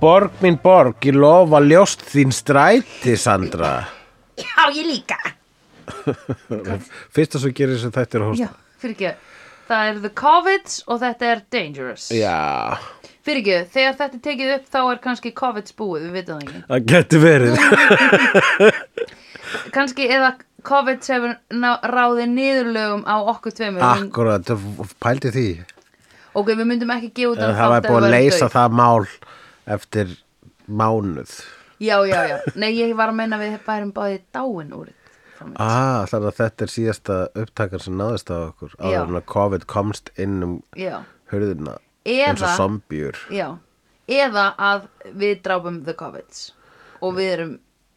borg mín borg, ég lofa ljóst þín stræti, Sandra. Já, ég líka. Fyrsta sem gerir þessu þetta er að hósta. Já, fyrir Það er The Covids og þetta er Dangerous. Já, Fyrir þegar þetta er tekið upp þá er kannski Covids búið, við vitum það ekki. það getur verið. Kannski eða Covids hefur ná- ráðið niðurlögum á okkur tveimur. Akkurat, það pældi því. Ok, við myndum ekki gefa út En þennan það var þátt ef búið að væri leysa dauð. það mál eftir mánuð. Já, já, já. Nei, ég var að meina að við bærum báðið dáin úr þetta. Ah, þannig að þetta er síðasta upptakar sem náðist á okkur. Já. Áður en að COVID komst inn um Já, hurðina. Eins Eða- og zombjur. já. Eða að við drápum The Covids og við erum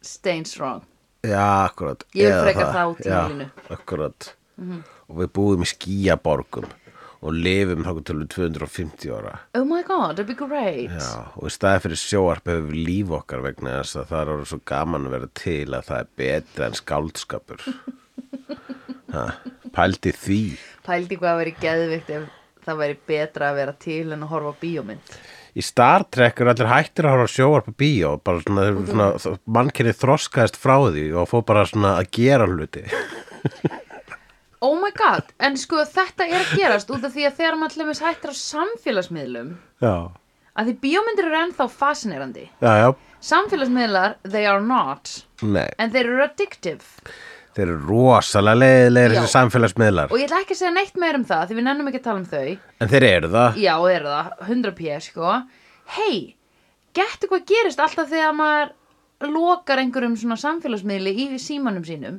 staying strong. Já, akkurat Ég vil Eða frekar það út í Já, málinu. Akkurat Mhm. Og við búum í skýjaborgum og lifum þá til við 250 ára Oh my god, that'd be great. Já, og í staði fyrir sjóarp hefur við líf okkar vegna þess að það er orðið svo gaman að vera til að það er betra en skáldskapur ha, Pældi því Pældi hvað væri geðvikt ef það væri betra að vera til en að horfa á bíómynd. Í Star Trek eru allir hættir að horfa á sjóarp og bíó bara svona, þeir eru Mhm. svona mannkynni þroskaðist frá því og fór bara svona að gera hluti Oh my god, en sko þetta er að gerast út af því að þegar maður til dæmis hættir á samfélagsmiðlum Já, að því bíómyndir eru ennþá fascinerandi. já, já, Samfélagsmiðlar, they are not, nei en þeir eru addictive. Þeir eru rosalega leiðilegir Já. þessi samfélagsmiðlar Og ég ætla ekki að segja neitt meir um það því við nennum ekki að tala um þau. En þeir eru það Já, þeir eru það, 100 p, sko. Hei, gettu hvað gerist alltaf þegar maður lokar einhverjum svona samfélagsmiðli í símanum sínum?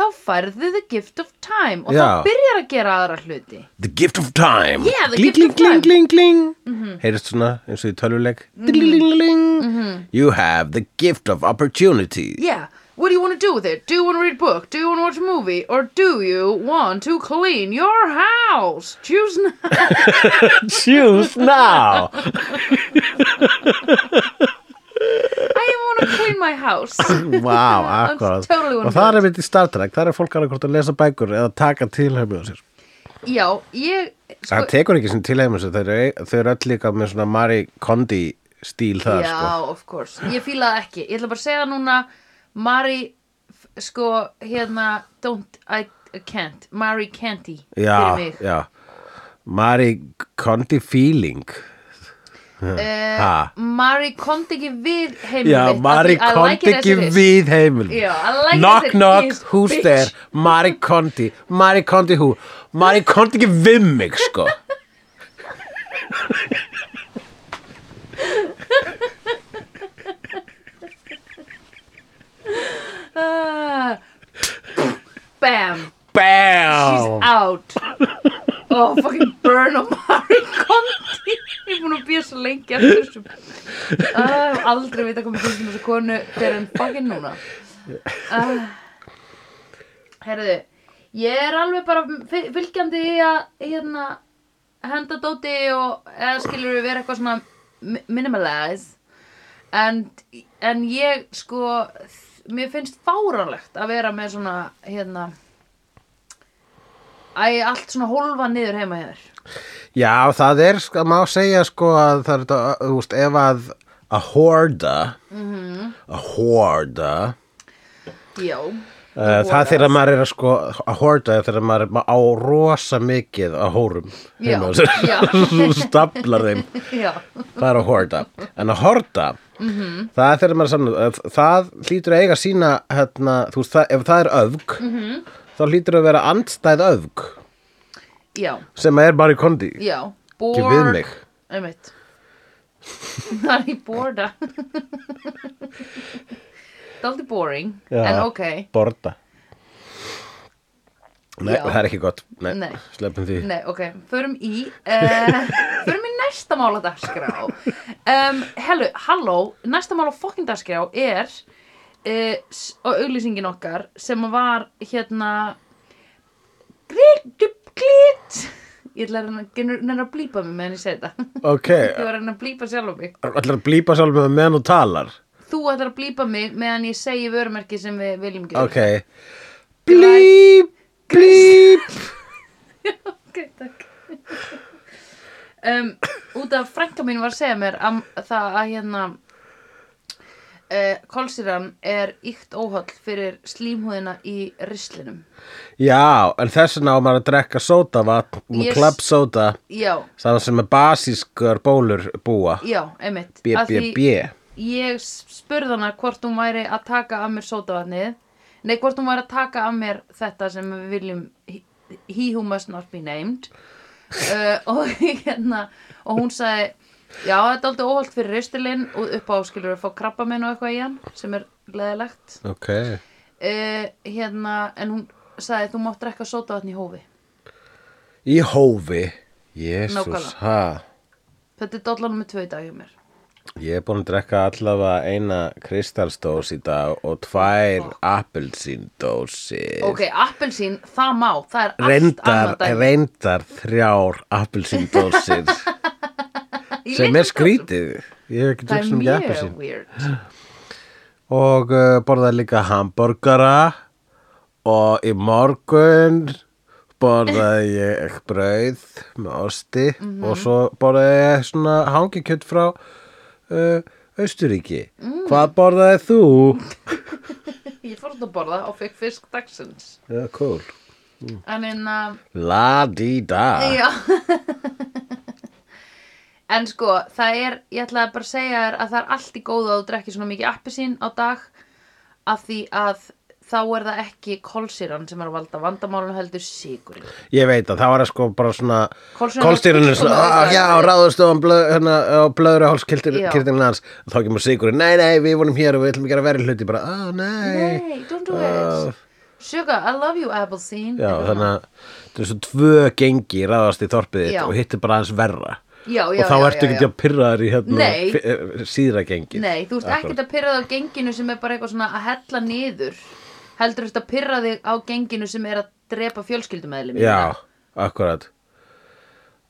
Þá færðu the gift of time og Já. þá byrjar að gera aðra hluti. The gift of time Yeah, the Gling, gift of gling, time. Mhm. gling, gling, gling Heyrist svona eins og í tölvuleik Dling-ling-ling Mhm. You have the gift of opportunity Yeah, what do you want to do with it? Do you want to read a book? Do you want to watch a movie? Or do you want to clean your house? Choose now. Choose now I want to clean my house. Vá, That's akkurat totally one Og það er mitt í Star Trek Það er fólk annarkvort að lesa bækur eða taka tilhæmi á sér Já, ég, sko, Það tekur ekki sem tilhæmi á sér Þau eru- Þau eru öll líka með svona Marie Kondi stíl það já, sko of course. Ég fíla það ekki. Ég ætla bara að segja núna, Mari, f- sko, hérna, don't, I, I can't. Mari Canty, fyrir Já, mig. já Marie Kondi feeling Ha. Uh, Mari komd ekki við heimil Já, mitt, Marie af því I like Kondi it as ekki it is. við heimilum Já, I like Knock, it as it knock, is, who's bitch. there? Marie Kondi, Marie Kondi who? Marie Kondi ekki við mig, sko Ah. Bam. She's Bam! out Oh, fucking burn on Marie Kondi Ég er búin að býja svo lengi eftir þessu Ah, Ég hef aldrei vita komið til þessu konu fyrir en fucking núna uh, Herðu Ég er alveg bara fy- fylgjandi í að hérna, henda dóti og eða skilur við vera eitthvað svona mi- minimalize en, en ég sko mér finnst fáranlegt að vera með svona hérna Æ, allt svona hólfa niður heima hjá þér. Já, það er, sko, má segja, sko að það er þetta, þú veist, ef að að horda Mhm. að horda Já. Uh, það þegar maður er að sko að horda er þegar maður er á rosa mikið að hórum Já, heima á sér. já. Svo staplar þeim Já. það er að horda en að horda Mhm. það er þegar maður er saman það hlýtur að eiga sína hérna, þú veist, það, ef það er öfg Mhm. þá hlýtur að vera andstæð öfg Já. sem er bara í kondi Já. Bored. ekki við mig Einmitt. Það er í borda. Daldi boring. Já. En ok. borda nei, Já. það er ekki gott nei, Nei. sleppum því Nei, ok. Förum í, uh, förum í næsta mál á dagskrá. Um, hellu, halló, næsta mál á fokkin dagskrá er uh, og auglýsingin okkar sem var hérna glit, glit. Ég ætla að reyna að blípa mig meðan ég segi þetta. ok, Ég var að reyna að blípa sjálf mig. allar að blípa sálum meðan þú talar Þú ætlar að blípa mig meðan ég segi vörumerki sem við viljum gera. ok blíp blíp ok, takk. um, út af frænka mín var að segja mér að, það að hérna uh, kolsýran er ykt óholl fyrir slímhúðina í rislinum Já, en þess vegna á maður að drekka sódavatn, Yes. yes. club soda, já, saman sem er basískur bólur búa, já, einmitt Af því BBB. ég spurði hana hvort hún væri að taka af mér sótavatnið nei, hvort hún væri að taka af mér þetta sem við viljum he- he who must not be named uh, og hérna og hún sagði, já, þetta er aldrei óholt fyrir ristilinn og upp á skilur að fá krabba minn og eitthvað í hann sem er leðilegt Ok, uh, hérna, en hún sagði þú mátt drekka sótavatn í hófi í hófi, jésús, Nákvæmlega. ha, þetta er dollar nummer tvö í dag hjá mér ég er búin að drekka allavega eina kristalsdós í dag og tvær oh. appelsíndósir. ok, appelsín, það má, það er allt Reyndar, annað dæmi. reyndar þrjár appelsíndósir Í sem litlum er dósum. skrítið. Ég hef ekki drukkið það er sem ekki mjög appelsín. weird og uh, borðaði líka hambúrgara og í morgun borðaði ég brauð með osti og svo borðaði ég svona hangikjöld frá uh, Austuríki. Hvað borðaði þú? Ég fór út að borða og fekk fisk dagsins. Já, cool. Mm. En hérna, en að, La-di-da. já. en sko, það er, ég ætlaði bara að segja þér að það er allt í góðu að þú drekkir svona mikið appelsín á dag af því að þá er það ekki kolsýran sem er að valda vandamálun heldur sigurinn. Ég veit að það var að sko bara svona Kolsýran- kolstýrunir svona, Kolsýran- "Ah, já, ráðust á hann blöð, hérna, á blöðru Já. hálskirtinu hans þá kemur Sigurinn, nei, nei, við vorum hér og við ætlum ekki að vera hluti, bara, ah, nei Nei, don't do Ah. it. Sugar, I love you, appelsín. Já, Eitthvað þannig að þetta er svo tvö gengi ráðast í þorpið Já. þitt og hitt er bara aðeins verra svona. já, já, og þá já, ertu já, ekki já. að pyrra þær í hérna Nei. f- eh, síðra gengi Nei, þú ert ekkert að pyrra þig á genginu sem er bara eitthvað svona að hella niður heldur ert að pyrra þig á genginu sem er að drepa fjölskyldumæðli mína. Já, akkurat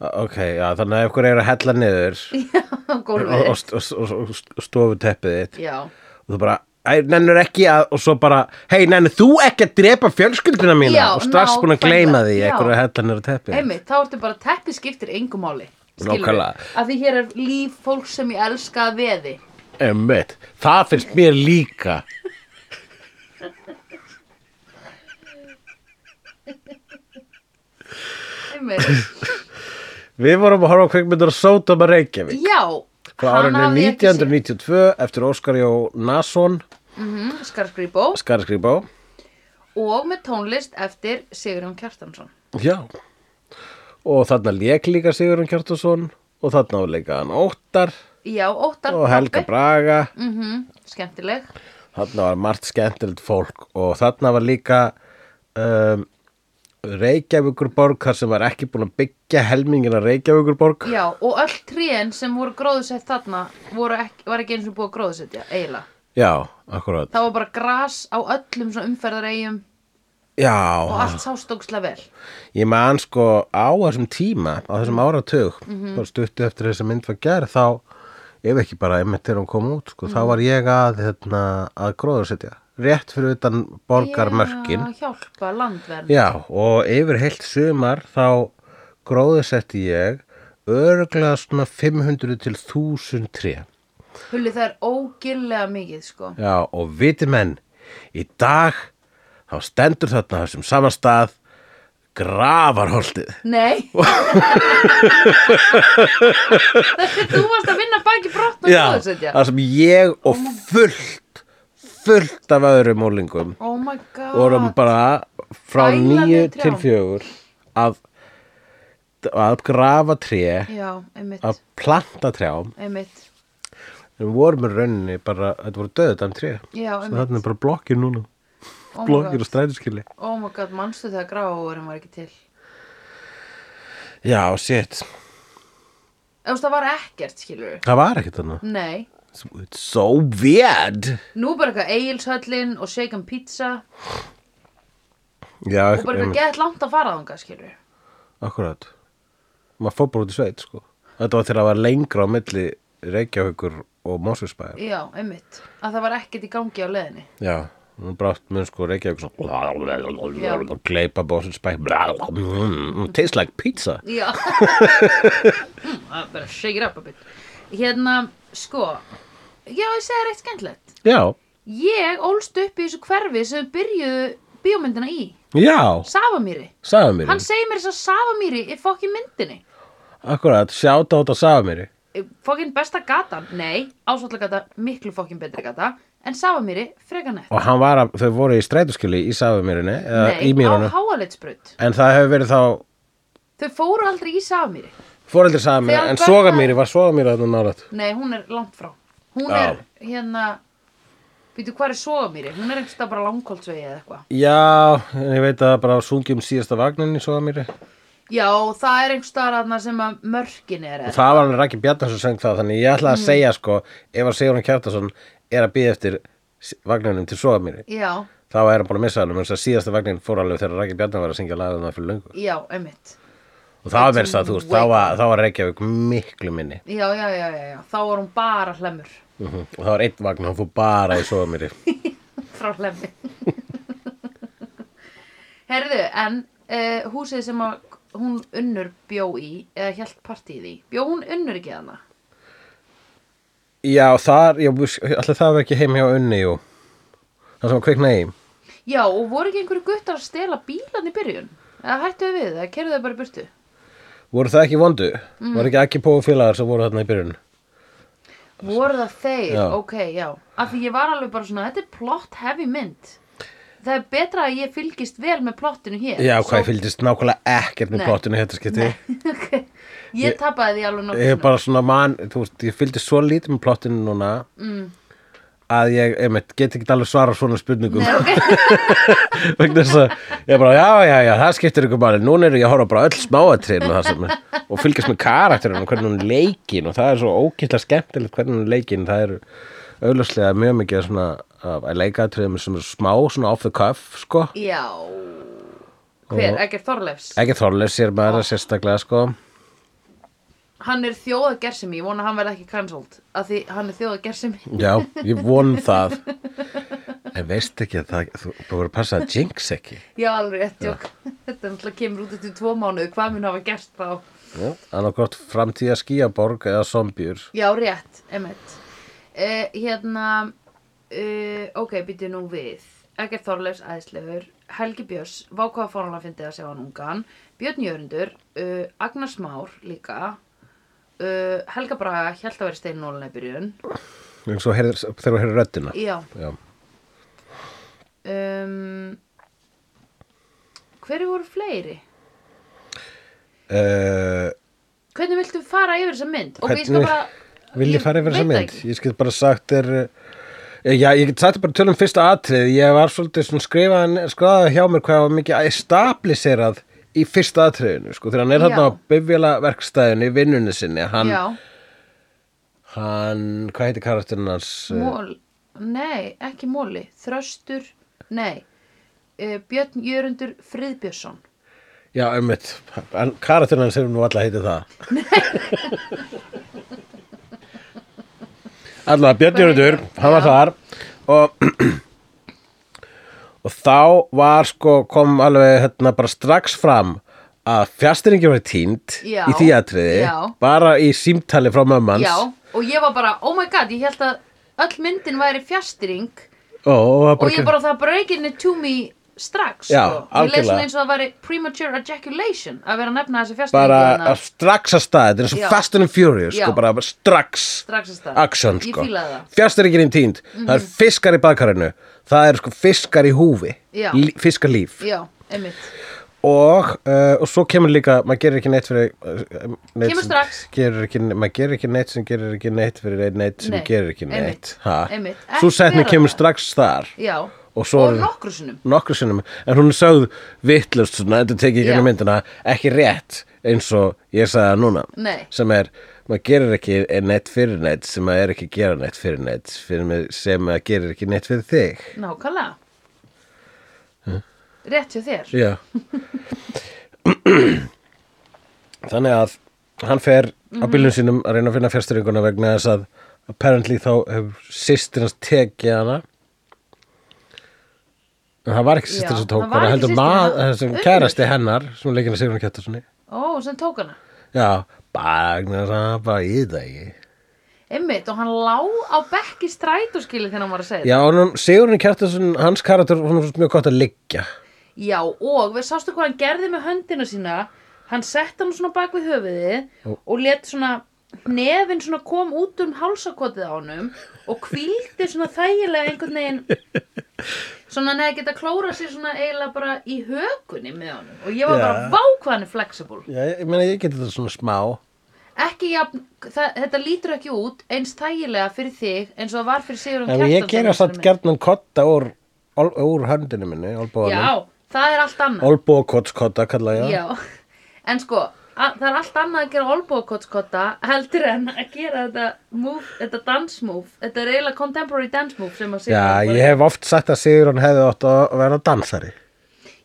A- Ok, já, þannig að ef ykkur er að hella niður Á og, gólfið. og, st- og, og, og st- stofu teppið þitt Já, og þú bara, æ, nennur ekki að og svo bara, hei, nennur þú ekki að drepa fjölskylduna mína Já, og strax búin að nákvæmlega. gleyma því Já. ykkur er að hella niður teppið þitt. einmitt, þá ertu bara teppi skiptir engum máli. skilurðu? Nákvæmlega. Af því hér er líf fólk sem ég elska að veði. Einmitt, það finnst mér líka Einmitt. Við vorum að horfa á kveikmyndur að sóta með Reykjavík Já, frá árinu 1992 eftir Óskar Jó Nason Mm -hmm, Skarkrýbó Skarðskrýbá og með tónlist eftir Sigurjón Kjartansson. Já og þarna lék líka Sigurðan Kjartason og þarna var líka hann Óttar Já, óttar og Helga Braga Mm Skemmtileg. þarna var margt skemmtilegt fólk og þarna var líka um, Reykjavíkurborg þar sem var ekki búin að byggja helmingina Reykjavíkurborg Já, og öll tríin sem voru gróðsett þarna voru ekki, var ekki eins og búið að gróðsetja, eiginlega. Já, akkurat Það var bara gras á öllum svona umferðaregjum Já, og allt sástókslega vel. Ég man sko á þessum tíma, á þessum áratug, bara stuttu eftir þess að mynd var gerð, þá, ef ekki bara einmitt þegar hún kom út, sko, þá var ég að, hérna, að gróðursetja, rétt fyrir utan borgarmörkin. Já, hjálpa landvernd. Já, og yfir heilt sumar þá gróðursetti ég örglega svona 500 til 1000 tré. Hulli, það er ógillega mikið, sko. Já, og viti menn, í dag þá stendur þarna á þessum samanstað gravarholtið. Nei. Þessi, þú varst að vinna baki brott og Já, gróðsetja. það sem ég og fullt, fullt af öðrum úlingum Oh my god. vorum bara frá Bæla nýju við trjám. til fjögur að, að grafa tré, Já, einmitt, að planta trjám, einmitt. en vorum í rauninni bara, þetta voru döðut af tré. Já, Svo einmitt. þarna er bara blokkir núna, Oh my blokkir god, og stræðiskili. oh my god manstu þegar gráðurinn var ekki til? Já, shit, Þú veist, það var ekkert, skilur það var ekkert þarna. Nei. It's so weird. Nú bara eitthvað eigilshöllin og shaken pizza Já, og bara eitthvað einmitt, gett langt að fara þangað, skilur. akkurat. Maður fór bara út í sveit, sko. Þetta var þegar það var lengra á milli Reykjavíkur og Mosfellsbæjar. Já, einmitt. Að það var ekkert í gangi á leðinni. Já, og brátt mun sko Reykjavík Já. svona gleipa bóðsins bæk tastes like pizza Já Mm, Það er bara að shake it up a bit Hérna, sko Já, ég segi reitt skemmtilegt já, Ég ólst upp í þessu hverfi sem byrjuðu bíómyndina í já, Safamýri sagði mér Hann segir mér þess að Safamýri er fokkin myndinni akkurat, sjáta át að sagði mér Fokkin besta gatan, nei Ásvallagata, miklu fokkin betri gata En Safamýri, frekar nett og hann var að, þau voru í strætuskili í sagði mérinni, eða Nei, í mýrunum á háalitsbraut en það hefur verið þá Þau fóru aldrei í Safamýri foreldri sagði mér, Þegar en börn- soga mér var soga mér þarna nálætt Nei, hún er langt frá Hún Já. er, hérna Býtu, hvað er Sofamýri? Hún er einhverstað bara langkóldsvegi eða eitthvað já, en ég veit að bara sungjum síðasta vagnin í soga mér Já, það er einhver staðar aðna sem að mörkin er og eða. það var hann Rækki Bjarnarsson sem söng það þannig ég Mm. ætla að segja sko ef að Sigurinn Kjartason er að býða eftir s- vagninum til soga mér Já, þá er hann búin að missa hann þess að síðasta vagnin fór alveg þegar Rækki Bjarnar var að syngja lagðum það fyrir löngu já, einmitt. og það var verið að þú veist, þá var, þá var Reykjavík miklu minni Já, já, já, já, já. Þá var hún bara hlemur. mm og það var einn vagn hann fór bara í soga mér Frá hlemmi. Herðu, en uh, húsið sem að hún unnur bjó í, eða hjælt partíð í, bjó hún unnur ekki þarna? já þar, já, alltaf það var ekki heim hjá unni jú. það sem var kviknaði í Já, og voru ekki einhverju guttar að stela bílan í byrjun? Eða hættu við, eða kerðu þau bara í burtu? voru það ekki vondu, Mm. voru ekki ekki pófélagar sem voru þarna í byrjun Voru það þeir, Já. ok, já Af því ég var alveg bara svona, þetta er plot heavy mynd Það er betra að ég fylgist vel með plottinu hér já, hvað Svo- ég fylgdist nákvæmlega ekkert með Nei. plottinu í þetta skipti Ok. Ég tapaði því alveg ég er nokkuð bara svona mann, þú veist, ég fylgdi svo lítið með plottinu núna að ég, einmitt, get ekki alveg svara svona spurningum vegna þess að ég er bara, já, já, já, það skiptir ykkur bara núna er ég að horfa bara á öll smáatrið með það sem er, og fylgjast með karakterinu og hvernig hún er leikin og það er svo ókýrlega skemmtilegt hvernig hún er leikin, það er auðlagslega mjög mikið svona að leikatriðum sem er smá, svona off the cuff, sko Já Hver, Egger Þorleifs ekki þorleis, ég er bara sérstaklega, sko Hann er þjóða gersemi, ég vona að hann verði ekki cancelled Af því hann er þjóða gersemi Já, ég von það En veist ekki að það Þú þú voru að passa að jinx ekki Já, alveg rétt jók Þetta er náttúrulega kemur út eftir tvo mánuð Hvað mun hafa gerst þá? Þannig gott framtíða skýjaborg eða zombjur Já, rétt, emmett uh, Hérna uh, Ok, býttu nú við Egger Þorleifs æðislegur Helgi Björns, vákvaða fórnulega fyndið að sjá hann ungan Björn Jörundur uh, Agnars Már líka uh, Helga Braga, hjælt að vera steinunólinni byrjun En svo heyrðir- þegar þú heyrður röddina Já Já. um, Hverju voru fleiri? Uh, Hvernig viltu fara yfir þessa mynd? Ok, ég skal Hvernig bara Vil ég fara yfir þessa veit það mynd? ekki. Ég get bara sagt þér uh, Já, ég get sagt þér bara tölum fyrsta atrið Ég var svolítið svona skrifaðan skrifaði hjá mér hvað var mikið establisherað í fyrsta atriðinu sko, þegar hann er Já. þarna á bifjala verkstæðinu í vinnunni sinni hann, Já, hann, hvað heitir karakterinn hans? mól Nei, ekki móli Þröstur, nei uh, Björn Jörundur Friðbjörnsson Já, einmitt, Hann- karakterinn hans hefur nú alltaf heitið það Alltaf, Björn Jörgundur, hann var Já. þar og, og þá var sko, kom alveg hérna bara strax fram að fjastringi var týnd Já. í því atriði, Já. bara í símtali frá mömmans Já, og ég var bara, oh my god, ég held að öll myndin væri fjastring og, og, var og ég bara, það breykinni to me strax Já, sko. Mér leið algjörlega. svona eins og það væri premature ejaculation að vera að nefna þessi hérna fjastring bara að strax að staða, þetta er eins Já. og Fast and Furious, Já. sko, bara strax strax að stað action sko. Ég fílaði það Mhm. Fjastringin týnd, það er fiskar í bakarinu það er sko fiskar í húfi Já. Lí- fiskalíf Já, einmitt og, uh, og svo kemur líka maður gerir ekki neitt fyrir uh, neitt Kemur sem- strax. gerir ekki, maður gerir ekki neitt sem gerir ekki neitt fyrir einn neitt sem Nei, gerir ekki einmitt, neitt Ha? einmitt. svo Ekki setni vera kemur það. strax þar Já, og svo er- nokkru sinnum nokkru sinnum en hún er sögð vittlust svona, þetta tekið ekki Já. henni myndina ekki rétt eins og ég sagði það núna Nei. sem er, maður gerir ekki eh, neitt fyrir neitt sem maður er ekki að gera neitt fyrir neitt fyrir mig, sem maður gerir ekki neitt fyrir þig Nákvæmlega Rétt hjá þér Já Þannig að hann fer á Mhm. bílum sínum að reyna að finna fjasturinguna vegna þess að apparently þá hefur systir hans tekið hana En það var ekki sýstir Já, sem tók það var hana, ekki heldur systir maður, hennar. sem kærasti hennar, sem leikina Sigrun Kjartarssoni. Ó, sem tók hana Já, bara vegna þess að hann bara í það ekki. Einmitt, og hann lá á bekk í strætóskili þegar hann var að segja Já, honum, Sigrun Kjartarsson, hans karakter, hún er mjög gott að liggja. þetta Já, og við sástu hvað hann gerði með höndina sína Hann sett hann svona bak við höfuðið og let svona nefinn svona kom út um hálsakotið á honum og hvíldi svona þægilega einhvern veginn svona hann hefði geta klóra sér svona eiginlega bara í hökunni með honum og ég var Já. bara vá hvað hann er flexible Já, ég meina, ég geti þetta svona smá. ekki jafn, það, þetta lítur ekki út eins þægilega fyrir þig eins og það var fyrir Sigurðum En ég gera satt gerðnan kotta úr, ol- úr höndinu minni, olbóðanum. Já, það er allt annað Olbóðkottskotta, kalla ég. það. Já, en sko a- það er allt annað að gera olbókotskotta heldur en að gera þetta move, þetta dance move, þetta er eiginlega contemporary dance move sem að Já, Sigurður ég hef oft sagt að Sigrun hefði átt að vera dansari.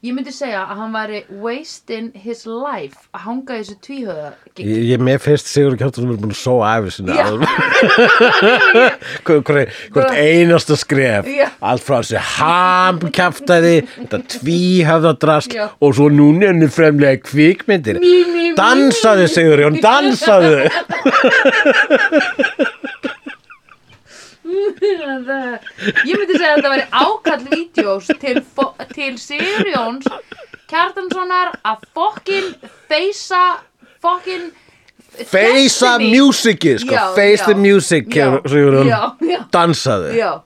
ég myndi segja að hann væri wasting his life að hanga í þessu tvíhöða gig. Ég, ég mér finnst Sigur Kjartarsson er búin að sóa af sinna Já. Hvort einasta skref Já. Allt frá þessi hamkjaftaði Þetta tvíhafðadrast Já. Og svo núna henni fremlega kvikmyndir Mí, mí, mí, Dansaðu Sigur Jón, dansaðu Það- Ég myndi segja að þetta væri ákall vídeos til, fo- til Sigurjóns Kjartanssonar að fokkin feysa fokkin Feisa Destiny. musicið sko Já, Face já. the music Já, Sigur Jón já, já. Dansaðu Já,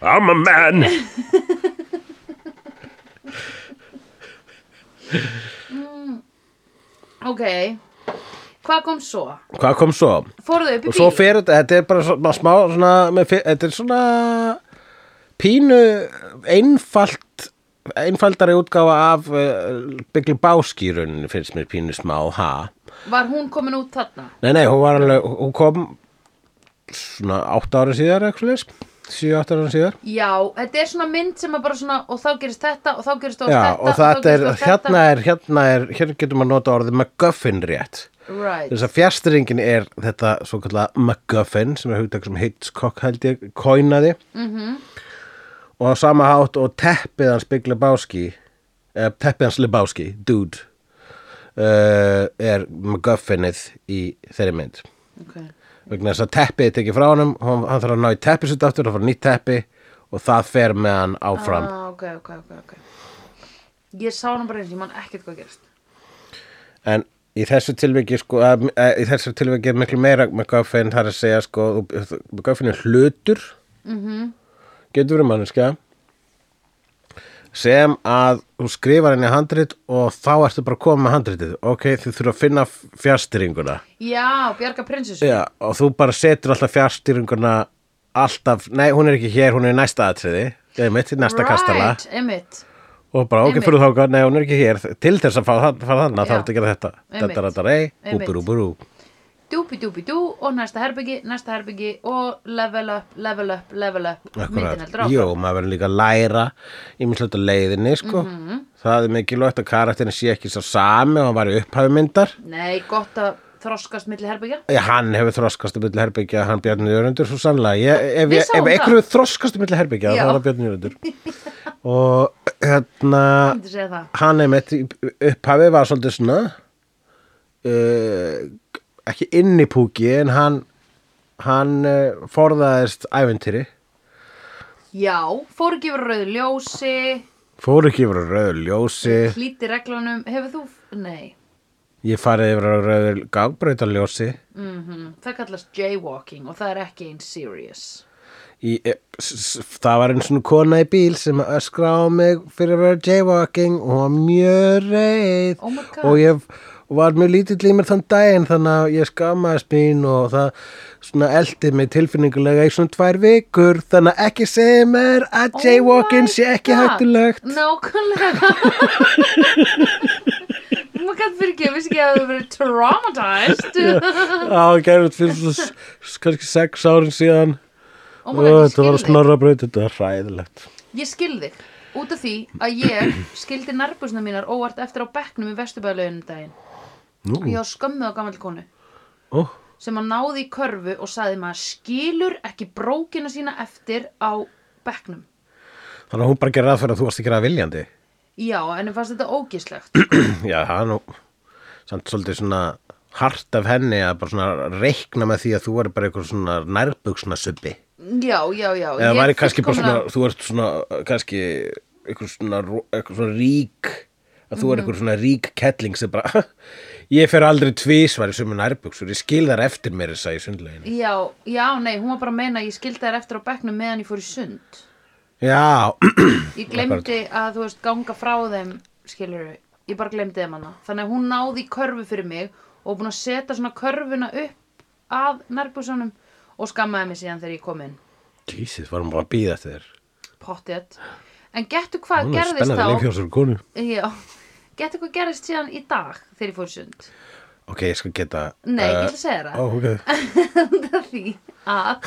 I'm a man ok Hvað kom svo? Hvað kom svo? Fóruðu upp í og svo bíl? fer þetta, þetta er bara svona, smá svona, með, fe- þetta er svona pínu einfalt einfaldari útgáfa af uh, byggli báskýrun finnst mér pínu smá, ha Var hún komin út þarna? nei, nei, hún var alveg, hún kom svona 8 ára síðar sko. 7-8 ára síðar Já, þetta er svona mynd sem að bara svona og þá gerist þetta og þá gerist það Já, og þetta er, gerist oft hérna er, hérna er, hérna getur maður nota orðið MacGuffin rétt. Right, Þess að fjastringin er þetta svo kallega MacGuffin sem er hugtak sem Hitchcock held ég kóinaði -hmm. og á sama hátt og teppið hans Big Lebowski eða teppið hans Lebowski, dude uh, er MacGuffinið í þeirri mynd ok vegna þess að teppið er tekið frá honum hann, hann þarf að ná í teppið sitt aftur, hann fara nýtt teppi og það fer með hann áfram ah, ok, ok, ok, ok Ég sá hana bara eins, ég man ekkert hvað gerist en í þessu tilviki sko, að, að, í þessu tilviki er miklu meira McGuffin þar að segja sko þú- þú- McGuffin er hlutur Mhm. getur verið manneskja sem að þú skrifar henni handrit og þá ertu bara að koma með handritið ok, þú þurfa að finna fjastýringuna Já, Bjarga prinsessu Já, og þú bara setur alltaf fjastýringuna alltaf, nei hún er ekki hér hún er í næsta atriði, eða mitt í næsta kastala Right, einmitt og bara ok, Einmitt. fyrir þáka, nei hún er ekki hér til þess að fara, fara þannig Já. þarf þetta að gera þetta Einmitt. þetta er þetta rey, Einmitt. úpur úpur ú Dúpi dúpi dú og næsta herbyggi, næsta herbyggi og level up, level up, level up Myndin heldur Akkurat, áfram jú, maður verður líka að læra ímislegt á leiðinni, sko Mhm. það er mikilvægt að karakterin sé ekki svo sami og hann var í upphafi myndar Nei, gott að þroskast milli herbyggja Já, hann hefur þroskast um milli herbyggja hann Bjarni Jörundur, svo sannlega ég, ef, Við ég, ef sáum það. einhver hefur þroskast um milli herbyggja þá Já. er það Bjarni Jörundur og hérna Myndi segja það hann er mitt upphafi var svolítið svona uh, ekki inn í púki en hann hann uh, forðaðist æventýri Já, fór ekki yfir á rauðu ljósi fór ekki yfir á rauður ljósi Hlíti reglunum, hefur þú Nei, ég farið yfir á rauður gangbrautarljósi mm það kallast jaywalking og það er ekki eins serious í, e, s- s- það var einn svona kona í bíl sem öskra á mig fyrir að vera jaywalking og hún var mjög reið Oh my God. og ég var mjög lítill í mér þann daginn þannig að ég skammaðist mín og það svona eldi mig tilfinningulega í svona tvær vikur þannig að ekki segja mér að Oh jaywalking my sé ekki God. hættulegt Nákvæmlega Maður gæti fyrir ekki, ég vissi ekki að það hefur verið traumatized á gerðið fyrir svona s- s- kannski sex árin síðan Oh my og god, ég þetta var skil að þig snorra braut þetta var hræðilegt Ég skil þig Út af því að ég skildi nærbúsna mínar óvart eftir á bekknum í vesturbæðlaunum daginn Nú. Ég var skömmuð á gamall konu Ó, sem að náði í körfu og saði maður skilur ekki brókina sína eftir á bekknum Þannig að hún bara gerir að fyrir að þú varst ekki að gera það viljandi. Já, en ég fannst þetta ógislegt. Já, það er nú samt svolítið svona hart af henni að bara svona reikna með því að þú er bara eitthvað svona nærbugsna subbi. Já, já, já. Eða ég væri kannski bara fullkomlega- svona, þú ert svona uh, kannski eitthvað svona, ro- eitthvað svona rík að þú er Mhm. eitthvað svona rík kettling sem bara, ég fer aldrei tvísvar í sömu nærbugsur, ég skil þar eftir mér þess að í sundleginu. Já, já, nei, hún var bara að meina að ég skildi þær eftir á bekknum meðan ég fór í sund. Já, Ég glemdi að, þú veist, ganga frá þeim, skilur við. Ég bara glemdi þeim hana. Þannig að hún náði í körfu fyrir mig og búin að setja svona körfuna upp að nærbúsanum og skammaði mig síðan þegar ég kom inn. Jesus, varum bara að býða eftir þér. Pottið. En gettu hvað Hún er gerðist spennandi leik hjá þá? þessari konu. Já, gettu hvað gerðist síðan í dag þegar ég fór í sund? Ok, ég skal geta... Nei, ég eh, ætla að segja þér það. Ó, ok. út af því að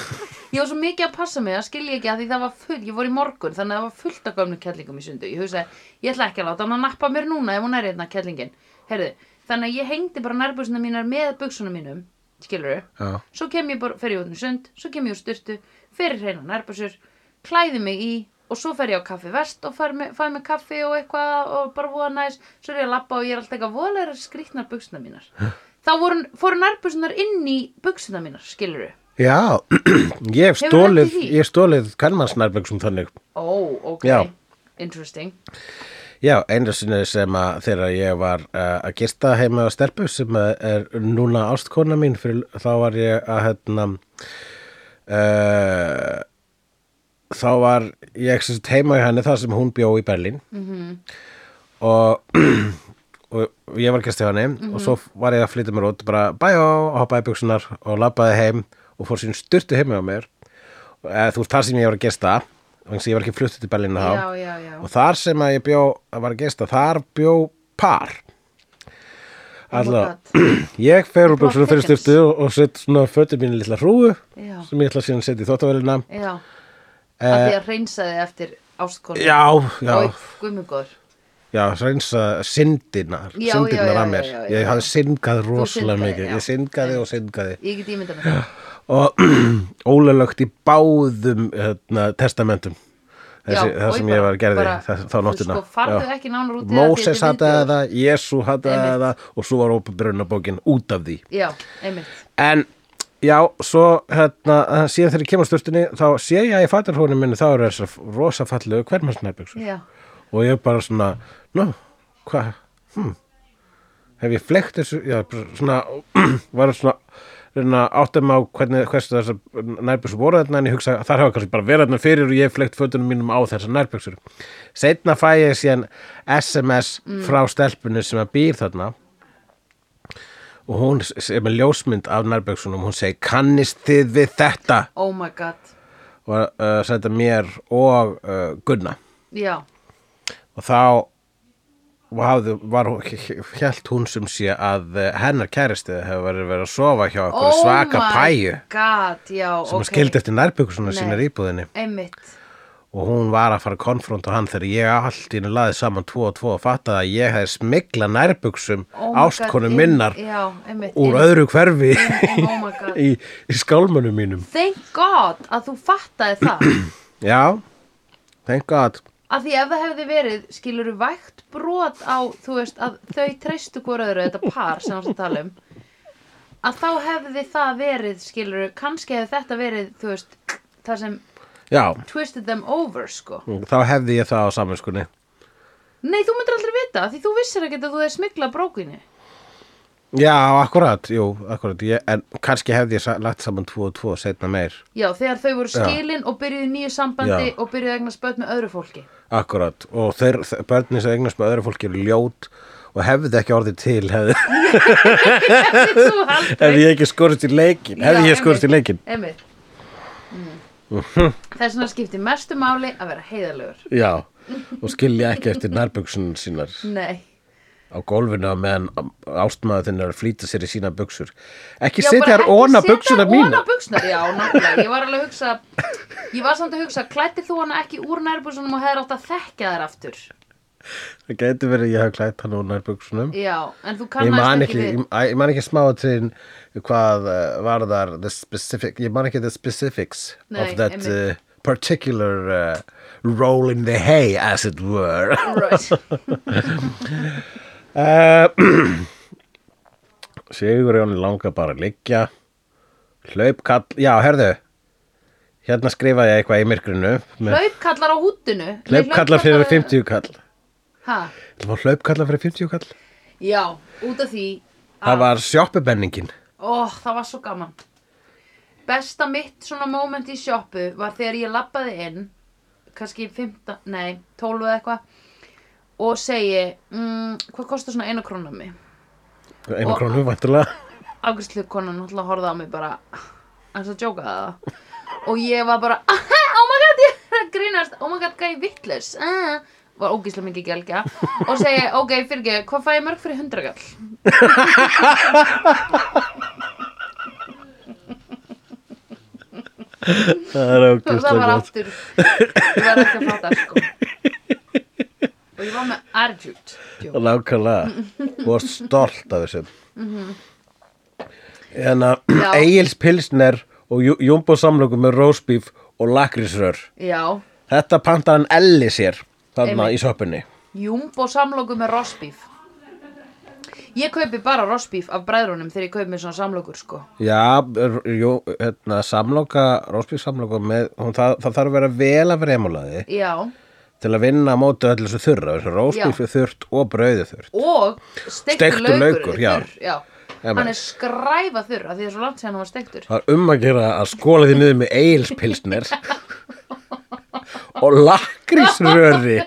ég var svo mikið að passa mig að skilja ekki að því það var full, ég voru í morgun þannig að það var fullt af gömnum kellingum í sundu ég hugsaði, ég ætla ekki að láta hann að nappa mér núna ef hún er hérna kellingin, heyrðu þannig að ég hengdi bara nærbúsuna mínar með buksuna mínum, skilurðu Já. svo kem ég bara, fer ég út um sund, svo kem ég úr styrtu fer hreina nærbúsur, klæði mig í og svo fer ég á kaffi vest og fær mig, fæ mig kaffi og eitthvað og bara voða næs, svo er ég að labba og ég er alltaf eitthvað voðlega skrýtnar buksuna mínar þá voru, fóru nærbusunar inn í buksuna mínar, skilur Já, ég hef Hefur stólið, lent í því? ég hef stólið kannmannsnærböksum þannig. ó, ok, Já. interesting Já, einu sinni sem að þegar ég var uh, að gista heima á stelpu sem að er núna ástkona mín fyrir, þá var ég að hérna uh, þá var ég sem sagt heima í henni þar sem hún bjó í Berlín -hmm. Mhm. og og ég var gestið henni Mhm. og svo var ég að flytja mér út bara bæjó og hoppaði í buksunar og labbaði heim og fór sín styrtu heima á mér eða, þú veist þar sem ég var að gesta þannig að ég var ekki fluttu til Berlín þá já, já, já, og þar sem að ég bjó að var að gista, þar bjó par Oh Alltaf, ég fer úr Plot buksunum fyrir thickens. styrtu og, og set svona fötum mínu litla hrúu Já. sem ég ætla síðan að setja í þóttavélina já að því að reynsaði eftir ástkonu Eh, Já, já, guðmugóður já, sænsa syndinar, Já, já, syndirnar já, að já, mér já, já, já. Ég hafði syndgað rosalega syndaðir, mikið, já. ég syndgaði og syndgaði ég get ímyndað með það og ólöglögt í báðum hérna, testamentum Þessi, Já, það og sem ég ég bara- var gerði bara, þess, þá þú nóttina sko, farðu Já. ekki nánar út í það, því Móses þetta er hataði viðbjóður. það, Jésu hataði Einmitt. það og svo var ópabrunabókin út af því já, einmitt, En já, svo hérna, síðan þegar ég kemur sturtunni þá sé ég að í fatarhóðinu minni þá eru þessar rosa fallegu hvermannsnærbyggsur já og ég bara svona, nú, hvað, hm, hef ég flekt þessu, já, bara svona, var svona, reyna að átta mig á hvernig, hversu þessar nærbyggsur voru þarna en ég hugsa að þar hafa kannski bara verið þarna fyrir og ég hef flekt fötunum mínum á þessar nærbyggsur. Seinna fæ ég síðan SMS frá stelpunni sem að býr þarna og hún sem er ljósmynd af nærböksunum hún segir kannist þið við þetta oh my god, og uh, senda mér og uh, Gunna já og þá hafði, var, hjælt hún sem sé að eh, hennar kæristið hefur verið verið að sofa hjá okkur svaka pæju Oh my god, já, sem okay. ok skildi eftir nærböksuna Nei. sínar í íbúðinni einmitt, og hún var að fara að konfronta hann þegar ég allt í henni laði saman tvo og tvo og fattaði að ég hefði smikla nærbuksum oh oh my god, ástkonu inn- minnar já, einmitt, úr inn- öðru hverfi inn- oh my god. í, í skálmönnum mínum Thank God að þú fattaði það Já, thank god að því ef það hefði verið skilur vægt brot á þú veist að þau treystu hvora öðru þetta par sem ást að tala um að þá hefði það verið skilur kannski hefði þetta verið þú veist það sem Já, twisted them over sko þá hefði ég það á saminskunni Nei, þú myndir aldrei vita af því þú vissir ekki að þú hefði smikla brókinni Já, akkurat, jú, akkurat ég, En kannski hefði ég sa- lagt saman tvo og tvo setna meir Já, þegar þau voru skilin og byrjuðu í nýju sambandi Já. og byrjuðu að egna spöð með öðru fólki Akkurat, og þeir, þeir börnin sem eignast með öðru fólki eru ljót og hefði ekki orðið til hefði, Þú aldrei hefði ég ekki skorist í leikin hefði Já, ég skorist í einmitt, leikin einmitt. Mhm. Mm. Þess vegna skiptir mestu máli að vera heiðalegur Já, og skilja ekki eftir nærbuksun sínar Nei á gólfinu á meðan ástmaður þinn er að flýta sér í sína buksur Ekki Já, setja bara þær ekki óna setja buksuna þær mína Óna buksuna, já, nákvæmlega Ég var alveg að hugsa Ég var samt að hugsa, klættir þú hana ekki úr nærbúsunum og hefðir átt að þekkja þær aftur Það gæti verið að ég hafa klætt hann óna buksunum Já, en þú ég man kannast ekki, ekki við ég, ég man ekki smá til hvað uh, var þar the specific, ég man ekki the specifics Nei, of that einmitt. uh, particular uh, roll in the hay, as it were. Right. Uh, Sigurjón langar bara að liggja Hlaup kall Já, herðu Hérna skrifa ég eitthvað í myrkrinu með- Hlaupkallar á húttinu. Hlaup kallar fyrir 50 kall Hæ? Það var hlaup kallar fyrir 50 kall Já, út af því. Ah. Það var sjoppubenningin Ó, það var svo gaman. Besta mitt svona moment í sjoppu var þegar ég labbaði inn, kannski 15, nei, 12 eða eitthvað, og segi, mm, hvað kostar svona eina krónu á mig? Einu Og- krónu vantulega Afgjörslu konan náttúrulega horfði á mig bara, hans að djóka það. Og ég var bara, "Aha, oh my god, ég er að grínast, oh my god, gæði vittlaus, ah, var ógíslega mikið gelgja. Og segi, ok, fyrir ekki, hvað fæ ég mörg fyrir 100 gall? Það er og það ógustlega var gott aftur ég var ekki að fatta sko og ég var með attitude djú. Lákala Og stolt af þessu En að Já. Egils Pilsner og Jú- Jumbo samlöku með rósbíf og lakrísrör já, Þetta pantar hann Elli sér þarna Einmitt. í sjoppunni. jumbo samloku með rosbíf ég kaupi bara rosbíf af bræðrunum þegar ég kaupi með svona samlokur sko Já, r- jú, hérna, samloka, Rósbjörg samloka með, hún, það, það þarf að vera vel af remulaði já, til að vinna á móti öllu þessu þurra, þessu Rósbjörg er þurrt og brauði þurrt. og steiktur Steiktur laukur, laukur, já. þurr, já. Amen. hann er skræfa þurr af því það er svo langt sér hann var steiktur Það er um að gera að skóla því niður með eilspilsnir og lakrísröri.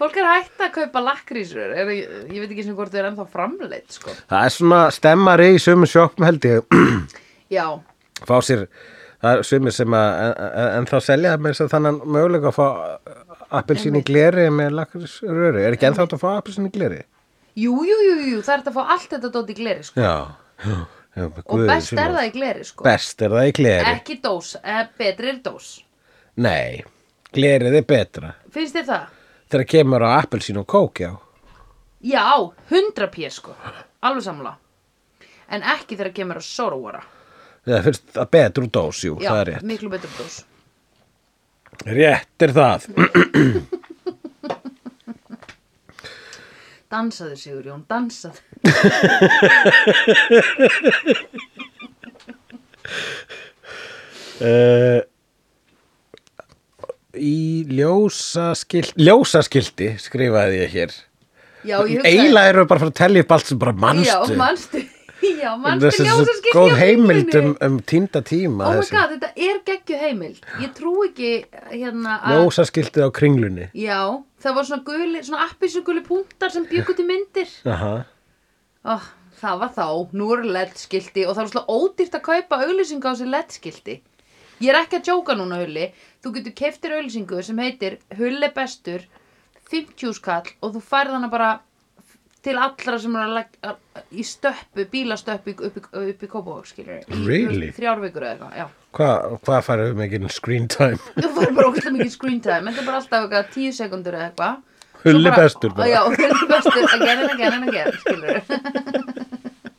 fólk er hægt að kaupa lakrísur ég, ég veit ekki sem hvort þau er ennþá framleitt sko. Það er svona stemmari í sömu sjoppum held ég, já, fá sér, það er sömu sem að, en, en- en þá selja það með þess að þannan mögulega að fá appelsín í gleri með lakrísröri. Er ekki ennþá hægt að fá appelsín í gleri? jú, jú, jú, jú það er hægt að fá allt þetta dót í gleri sko. Já, já, já og best er það í gleri sko. Best er það í gleri ekki dós, eh, betri er dós Nei, glerið er betra finnst þér það? Þegar kemur á appelsín og kók, já já, 100 pés sko alveg samla en ekki þegar kemur að sorgvara Það finnst það betur úr dós, jú, já, það er rétt miklu betur dós Rétt er það dansaðu Sigur Jón, dansaðu uh, Í ljósaskildi, ljósaskildi skrifaði ég hér já, ég hugsaði Eila erum við bara að fara að tellja upp allt sem bara já, manstu manstu já, manstu Þessi ljósa svo góð heimild um, um týnda tíma oh my þessi. god, þetta er geggju heimild ég trú ekki hérna að Ljósaskildi á kringlunni já, það var svona guli, svona appisuguli punktar sem byggu til myndir Aha. Oh, það var þá, nú eru LED-skilti og það er svolítið ódýrt að kaupa auglýsingu á þessi LED-skilti. Ég er ekki að jóka núna, Hulli. Þú getur keftir auglýsingu sem heitir Hulli bestur, 50 skall og þú færð hana bara til allra sem eru að leggja í stöppu, bílastöppu upp í, upp í Kópavog, skilur. Really? Þrjár vikur eða eitthvað, já. Hvað hva færðu mikið screen time? Þú færð bara ógæslega mikið screen time, en það er bara alltaf eitthvað tíu sekundur eða eitthvað. Svo Hulli bestur bara. Já, hulli bestur, again and again and again, skilur.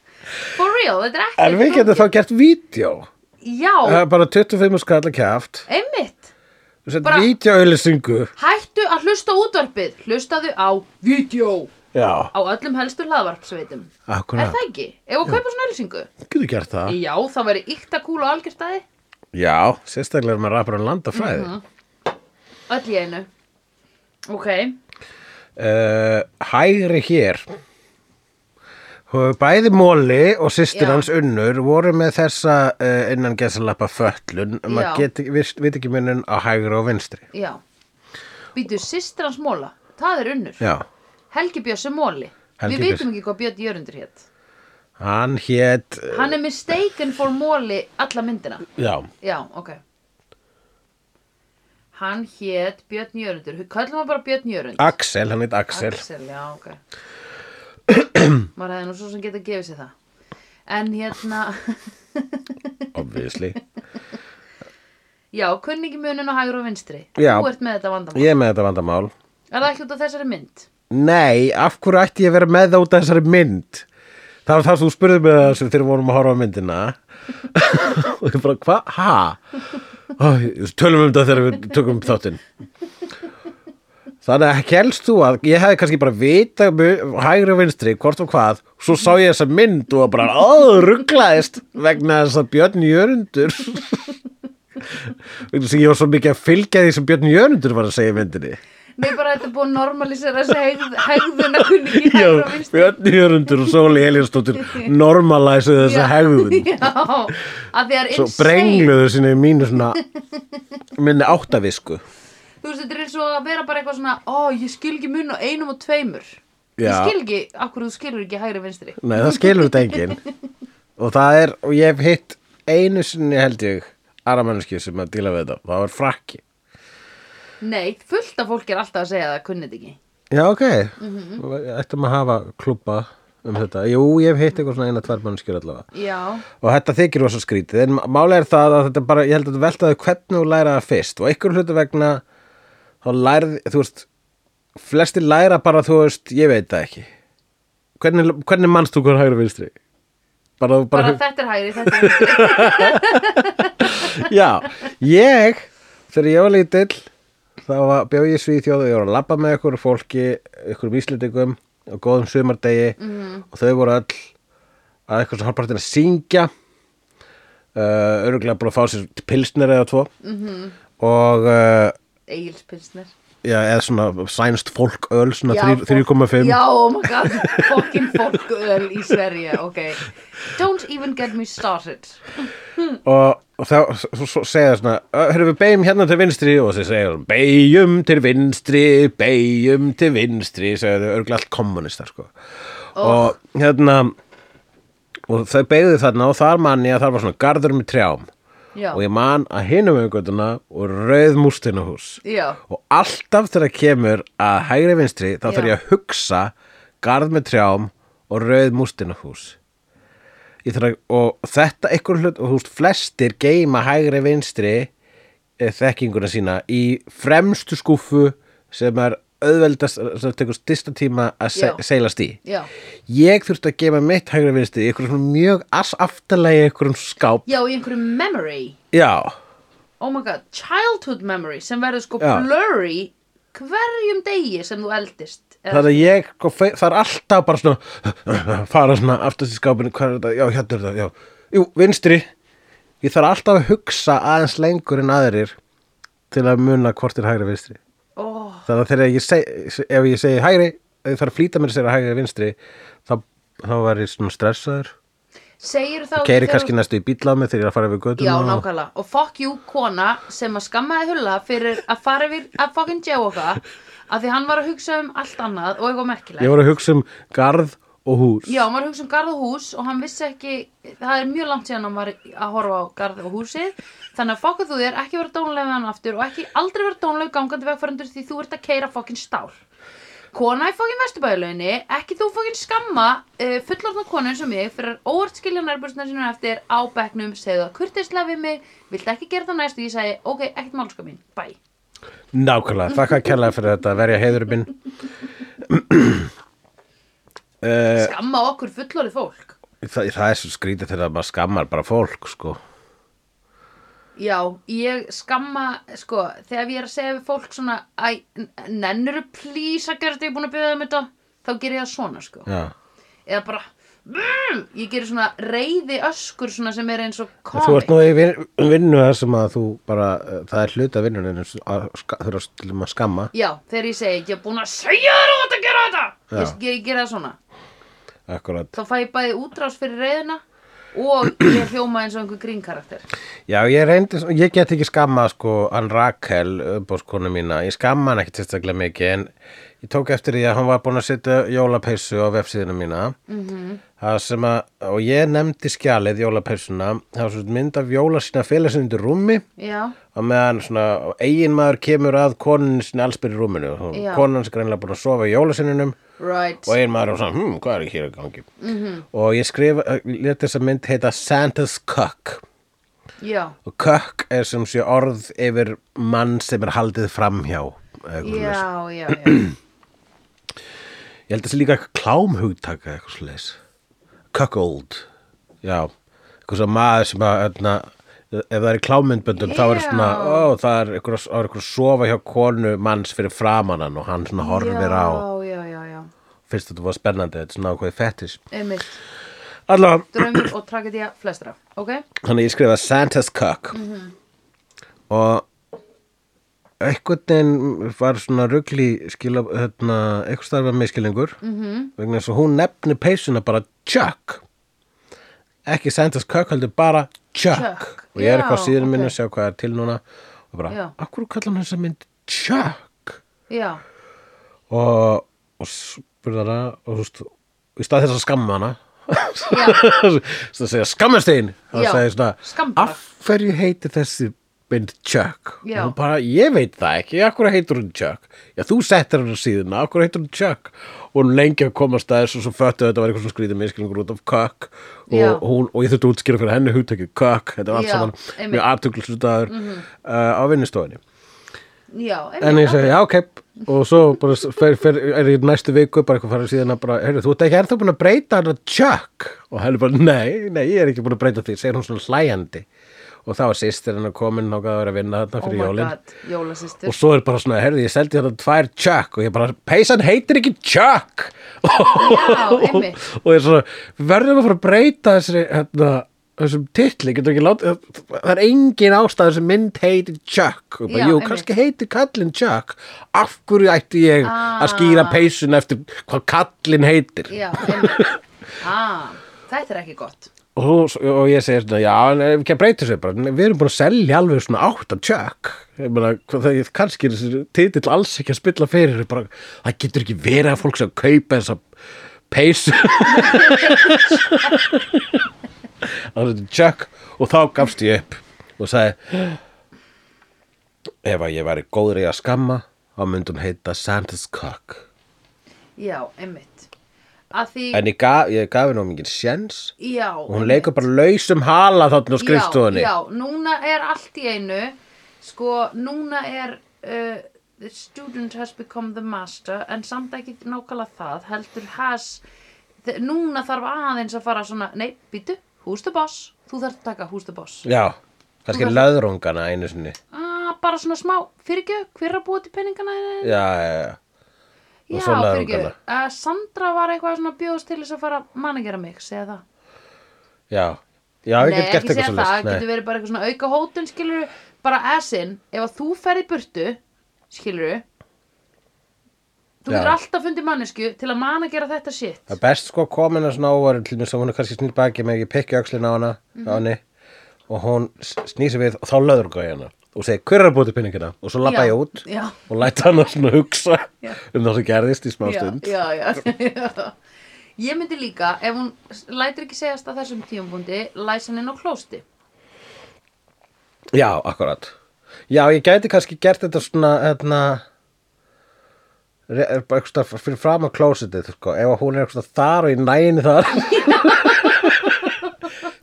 For real, þetta er ekkert. En við getum þá gert vídeo Það Já, er bara 25 skall að kæft einmitt. Þú sett Bara- vídeoauðlýsingu Hættu að hlusta á útvarpið, hlustaðu á vídeo Já, á öllum helstu hlaðvarpsveitum. Er akkurat, það ekki? Ef að kaupa svona ölsingu? getur gert það Já, það væri ykta kúl á algjörstæði, Já, sérstaklega er maður rappar um landafræði mm öll í einu. Ok, Eh, Hægri hér Og Bæði Móli og systir Já. hans Unnur voru með þessa uh, innan gesalappa föllun Já. maður get, vist, veit ekki munnin á hægri og vinstri já. Býtu systir hans móla, það er unnur. Já, Helgi Bjössi móli. Helgi Við Bjössi. vitum ekki hvað Björn Jörundur hétt. hann hét eh, Hann er mistaken for móli alla myndina. Já, Já, ok. Hann hétt Björn Jörundur. Kallum hann bara Björn Jörund. Axel, hann heit Axel Axel, já, ok maður hefði nú svo sem geta gefið sér það en hérna Obviously já, kunningi munin á hægur og vinstri Já. þú ert með þetta vandamál Ég er með þetta vandamál er það ekki út af þessari mynd? Nei, af hverju ætti ég að vera með það út af þessari mynd? Það var það sem þú spurði mig þessu þegar við vorum að horfa á myndina og ég bara, hva? Ha? Ó, ég- Tölum um þetta þegar við tökum upp þáttinn Þannig að helst þú að ég hefði kannski bara vita mu- hægri og vinstri, hvort og hvað svo sá ég þessa mynd og bara ó, rugglaðist vegna þess að Björn Jörundur vegna þess að ég var svo mikið að fylgja því sem Björn Jörundur var að segja í myndinni Nei, bara þetta er búið að normalisera þessi hegð, hegðuna kunningi Já, Björn Jörundur og Sóli Heljarsdóttir normalæsuðu þessa hegðun Já, að því það er svo insane. brengluðu sinni í mínu svona minni áttavisku Þú veist, þetta er eins og að vera bara eitthvað svona, ó, ég skil ekki mun á einum og tveimur. Ég Já. skil ekki, akkur þú skilur ekki hægri vinstri. nei það skilur þetta enginn og það er, og ég hef hitt einu sinni held ég aðra mannskju sem að díla við þetta, það var frakki Nei, fullt af fólk er alltaf að segja að það kunni þetta ekki. já ok, Mhm. ættum að hafa klubba um þetta, jú ég hef hitt eitthvað svona eina tvær mannskjur allavega Já, og þetta þykir rosa skrítið en máli er það að þetta bara, ég held að þetta veltaði hvernig þú læra það fyrst og einhver hlutu vegna þá lærði, þú veist flestir læra bara, þú veist, ég veit það ekki hvernig, hvernig manst þú hver hægri og vinstri bara, þú bara, bara, þetta er hægri, þetta er vinstri. já, ég þegar ég var lítill þá var- bjó ég í Svíþjóð og ég var að labba með ykkur fólki, ykkur víslendingum á góðum sumardegi Mhm. og þau voru öll að eitthvað sem hálpartin að syngja uh, örgulega búin að fá sér pilsnir eða tvo Mhm. -hmm. og uh, Egilspilsner. já, eða svona sænst fólk öl svona Já, þrír- fólk- 3,5 Já, oh my god, fokkin fólköl í Sverige, ok Don't even get me started og, og þá svo, svo segja svona höfum við beigjum hérna til vinstri og þessi segja svona, beigjum til vinstri beigjum til vinstri segja þau örgulega allt kommunistar sko. og hérna og þau beigðu þarna og þar mann ég að þar var svona garður með trjám Já, og ég man að hinum auðgötuna og rauð mústinuhús já, og alltaf þegar kemur að hægri vinstri þá Já. þarf ég að hugsa garð með trjám og rauð mústinuhús Ég þarf að, og þetta einhver hlut og þú veist flestir geima hægri vinstri eh, þekkinguna sína í fremstu skúfu sem er auðveldast sem tekur stista tíma að se Já. seilast í já ég þurfti að geima mitt hægri vinstri í einhverjum svona mjög ass aftalegi einhverjum skáp Já, í einhverju memory já, Oh my god, childhood memory sem verður sko Já. blurry hverjum degi sem þú eldist Eða- Það er ég, sko, fe- það er alltaf bara svona fara svona aftast í skápinu hvað er þetta, já, hérna er þetta, já Jú, vinstri, ég þarf alltaf að hugsa aðeins lengur en aðrir til að muna hvort er hægri vinstri Ó, Þannig að þegar ég segi, ef ég segi hægri ef ég þarf að flýta mér að segja hægri vinstri þá, þá var ég svona stressaður Segir þá Keiri þegar- kannski næstu í bíl á mig þegar ég er að fara við göttum Já, nákvæmlega. Og fuck you, kona sem að skammaði hulla fyrir að fara yfir að fucking jailwalka af því hann var að hugsa um allt annað og eitthvað merkilegt. Ég var að hugsa um garð og hús Já, maður hugsa um garð og hús og hann vissi ekki, það er mjög langt síðan hann var að horfa á garð og húsið þannig að fokka þú þér, ekki vera dónlega við hann aftur og ekki aldrei vera dónlega gangandi vegfærandur því þú ert að keira fokkin stál Kona í fokkin vesturbæðilöginni, ekki þú fokkin skamma uh, fullorðna konu eins og mig fyrir að óvart skilja nærbúrsna sínum eftir á bekknum, segðu það kurteislega við mig vilt ekki gera það næst og ég segi, ok, ekkert málska mín, bye Nákvæmlega, þakka að kærlega fyrir þetta, verja heiðurinn minn Eh, Skamma okkur fullorðið fólk Þa, það er svo skrítið þegar maður skammar bara fólk, sko. Já, ég skamma, sko, þegar ég er að segja við fólk svona, æ, nennuru plís að gera þetta, ég er búin að byrja um þetta, þá ger ég það svona, sko. Já. Eða bara, mm, ég gerir svona reyði öskur svona sem er eins og komi. Þú ert nú í vin- vinnu þar sem að þú bara, eh, það er hluta vinnuninu að ska- þurfa að stilum að skamma. Já, þegar ég segi, ég er búin að segja þér að þetta gera þetta, Já. ég, ég, ég gera það svona. Akkurat. Þá fæ ég bæði útrás fyrir reyðina og ég hljóma eins og einhver grínkarakter. Já, ég reyndi, svo- ég get ekki skamma, sko, hann Rakel, uppbóðskonu mína. Ég skamma hann ekkit sérstaklega mikið, en ég tók eftir því að hann var búin að setja jólapeysu á vefsíðinu mína. Mm -hmm. Það sem að, og ég nefndi skjalið jólapeysuna, það var svo mynd af jóla sína félagsinn undir rúmi. Já, og meðan svona eigin maður kemur að konun sinni allsbyrði rúminu og Já. konan sem greinlega búin að sofa í jólasinninum right. og eigin maður er svona, hm, hvað er hér að gangi Mhm. -hmm. og ég skrifa, let þess að mynd heita Santa's Cuck Já, og cuck er sem sé orð yfir mann sem er haldið framhjá eða eitthvað svoleiðis. já, já, já. ég held að þessi líka klámhugtaka eitthvað slags cuckold já, eitthvað svona maður sem að öfna, ef það er í klámyndböndum þá er Já. svona, ó, það er eitthvað, það er eitthvað sofa hjá konu manns fyrir framan hann og hann svona horfir á já, já, já, já. finnst þetta var spennandi, þetta er svona ákveði fettis Einmitt. allavega, Draumur og tragedía flestra, ok? þannig ég skrifa Santa's Cock Mhm. og einhvern veginn var svona rugli skila, hérna, eitthvað starfa miskilningur Mhm. -hmm. vegna þess að hún nefnir peysuna bara Chuck ekki Santa's Cock heldur bara Chuck, Chuck, og ég er eitthvað já, á síðan minn ok. að sjá hvað er til núna og Já. bara, akkur kallar hann þessa mynd Chuck Já, og, og spurði hana og þú veist, í stað þess að skamma hana Já. þess að segja skammastein þá Já, segir svona, skammbar. af hverju heitir þessi mynd Chuck Já. og hún bara, ég veit það ekki, af hverju heitir hún Chuck já, þú settir hann á síðuna, af hverju heitir hún Chuck og hún lengi að komast að þessu og svo föttu þetta var eitthvað svona skrýðið minnskilningur út af Cuck Já. og, hún, og ég þurfti að útskýra fyrir henni hugtækið Cuck, þetta var allt Já, saman einmitt. Mhm. mjög aðtuglisutaður mm uh, á vinnustofinni já, einmitt. en ég segi, já, ok og svo bara fer, fer, er ég næstu viku bara eitthvað fara síðan að bara, heyrðu, þú ert ekki ennþá búin að breyta hann að Chuck og hann er bara, nei, nei, ég er ekki búin að breyta því segir hún svona hlæjandi og þá er sýstir hennar komin og að vera að vinna þarna oh fyrir my jólin god, jólasýstur og svo er bara svona, heyrðu, ég seldi þarna tvær Chuck og ég bara, peysan heitir ekki Chuck og, og einmitt. ég er svona, við verðum að fara að breyta þessari, hérna þessum titli, getur ekki láta það er engin ástæður sem mynd heitir Chuck og bara, Já, jú, einmitt. kannski heitir kallinn Chuck af hverju ætti ég Ah. að skýra peysun eftir hvað kallinn heitir Já, einmitt ah, Þetta er ekki gott og, hún- og ég segir svona, já, en ef ekki að breyta þessu bara, nei, við erum búin að selja alveg svona átta tjökk, ég meina, hvað það er kannski er þessi titill alls ekki að spilla fyrir bara, það getur ekki verið að fólk sem kaupa þessa peysu það er tjökk og þá gafst ég upp og sagði ef að ég væri góður í að skamma þá myndi hún heita Santa's Cock Já, einmitt Að því, en ég gaf, ég gaf henni á mikið sjens já og hún leikur bara lausum hala þarna á skrifstofunni já, já, núna er allt í einu Sko, núna er uh, The student has become the master En samt ekki nákvæmlega það Heldur has þ- Núna þarf aðeins að fara svona Nei, býtu, who's the boss Þú þarf að taka who's the boss Já, kannski löðrungana einu sinni ah, Bara svona smá, fyrirgjöf, hver er að búa til peningana þína? Já, já, já Já, svo lagði hún fyrirgjöf uh, Sandra var eitthvað svona bjóðst til þess að fara að manningera mig, segja það Já, já ég get gert Nei, ekki segja eitthvað það, það getur svolítið verið bara eitthvað svona auka hótun skilur bara asinn, ef að þú ferð í burtu skilur þú Já. getur alltaf fundið mannesku til að manna gera þetta shit Það er best sko komin að svona óvarin til mér sem hún er kannski snýr baki með ekki pikki öxlin á hana á henni Mhm. og hún snýsi við og þá löðrunga ég hana og segi hver er að búti pinningina og svo labba Já, ég út já. og læta hana svona hugsa Já. um það sem gerðist í smá stund já, já, já ég myndi líka, ef hún s- lætur ekki segjast að þessum tíumbundi læs hann inn á klósti Já, akkurat. Já, ég gæti kannski gert þetta svona, hérna, re- er bara eitthvað staðar fyrir fram að klósitið, sko, ef að hún er eitthvað þar og ég næni þar.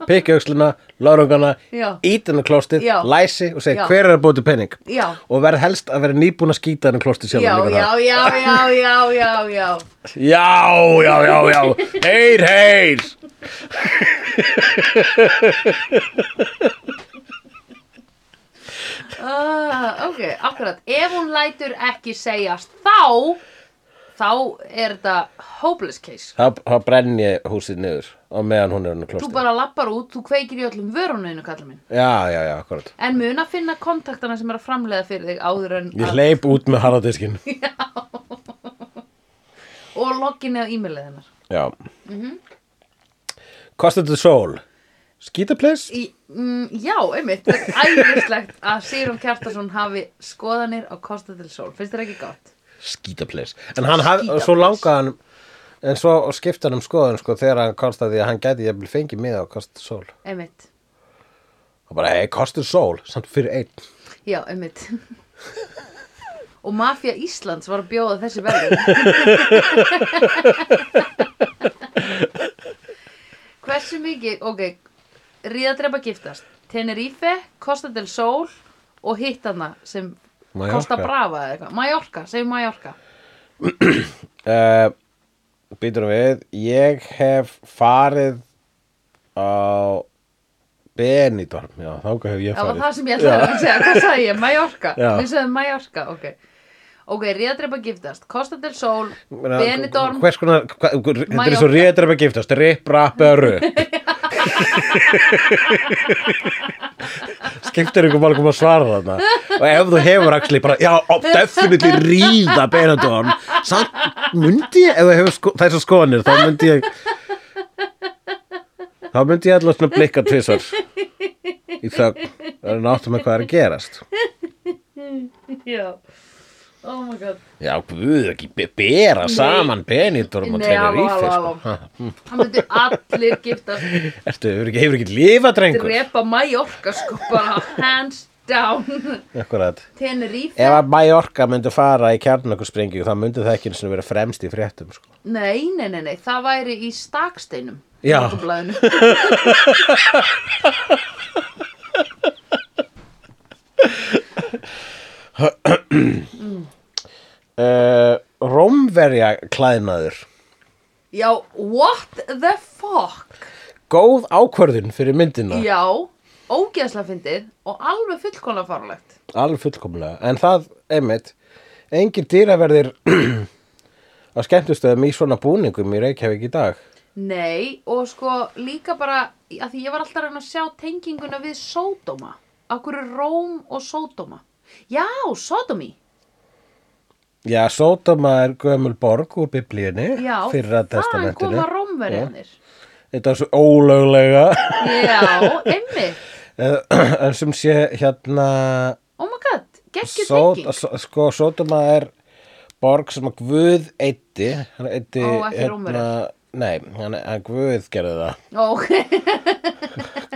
Pikkjöksluna, lárungana, Já. ítina klóstið, Já. læsi og segi Já. hver er að búið til penning. Já. Og verð helst að vera nýbúin að skýta henni klóstið sjálf. já, já, já, já, já, já, já Já, já, já, já. Heyr, heyr. Ah, ok, akkurat ef hún lætur ekki segjast þá þá er þetta hopeless case Þá, þá brenn ég húsið niður á meðan hún er henni Þú klóstið. bara lappar út, þú kveikir í öllum vöruninu, kallar minn. Já, já, já, akkurat. En mun að finna kontaktana sem er að framleiða fyrir þig áður en Ég hleyp út með harðadiskin. og loggin eða e-mailið hennar. Já Cost of the Soul Skita place? Í, mm, já, einmitt, það er æðislegt að Sýrum Kjartason hafi skoðanir á Costa del Sol. Finnst þér ekki gott? Skita place En hann hafði, Skítaples. svo langaði hann En svo skipti hann um skoðun sko Þegar hann kostaði að hann gæti ég fengið miða á Cost of the Soul Einmitt, Og bara, hei, Cost of the Soul, samt fyrir einn já, einmitt. og Mafia Íslands var að bjóða þessi verður. Hversu mikið, ok, ríðadrepa giftast, Tenerife, Costa del Sol og hitt hana sem Mallorca. Costa Brava eða eitthvað, Mallorca, segjum Mallorca. uh, býtur við ég hef farið á Benidorm já, þáka hef ég Það var farið það sem ég ætlaði að segja, hvað sagði ég? Mallorca, Já. við segðum Mallorca, ok. Ok, réðdrepa giftast, Costa del Sol, Meina, Benidorm, hvers konar, hva, þetta er Mallorca. svo réttur um að giftast rip, rap eða rup skiptir ykkur málum að svara þarna og ef þú hefur axli bara, já, ó, definitely ríða Benidorm samt myndi ég, ef þú hefur sko, þessu skoðanir þá myndi ég þá myndi ég alltaf svona blikka tvisar í þögn það er náttum með hvað er að gerast já, oh my god. já, guð, ekki be- bera saman Benidorm og sko. Nei, tegja í halló, halló, fyrst halló. Það myndi allir giftast, Ertu, hefur ekki, hefur ekki lifað drengur? drepa Mallorca, sko, bara hands down. Akkurat. Tenerife, Ef að Mallorca myndi fara í kjarnakursprengi þá myndi það ekki einu sinni vera fremst í fréttum sko. nei, nei, nei, nei, það væri í staksteinum. Já. Morgunblaðinu. uh, Rómverja klæðnaður Já, what the fuck? Góð ákvörðun fyrir myndina Já, ógeðslega fyndið og alveg fullkóla farlegt. Alveg fullkomlega En það, einmitt Engir dýraverðir á skemmtustöðum í svona búningum í Reykjavík í dag Nei, og sko líka bara, að því ég var alltaf að reyna að sjá tenginguna við Sódóma. Akkur er Róm og Sódóma. Já, Sódómi. Já, Sódoma er gömul borg úr biblíunni Já, fyrra þaðan koma testamentinu Rómverjanir. Þetta er svo ólöglega Já, einmitt. Eh, en sem sé hérna Oh my god, geggjur Só- tenging. Só- sko, Sódoma er borg sem að Guð eitti hann eitti Ó, ekki Rómverjar. nei, hann, hann Guð gerði það Ok,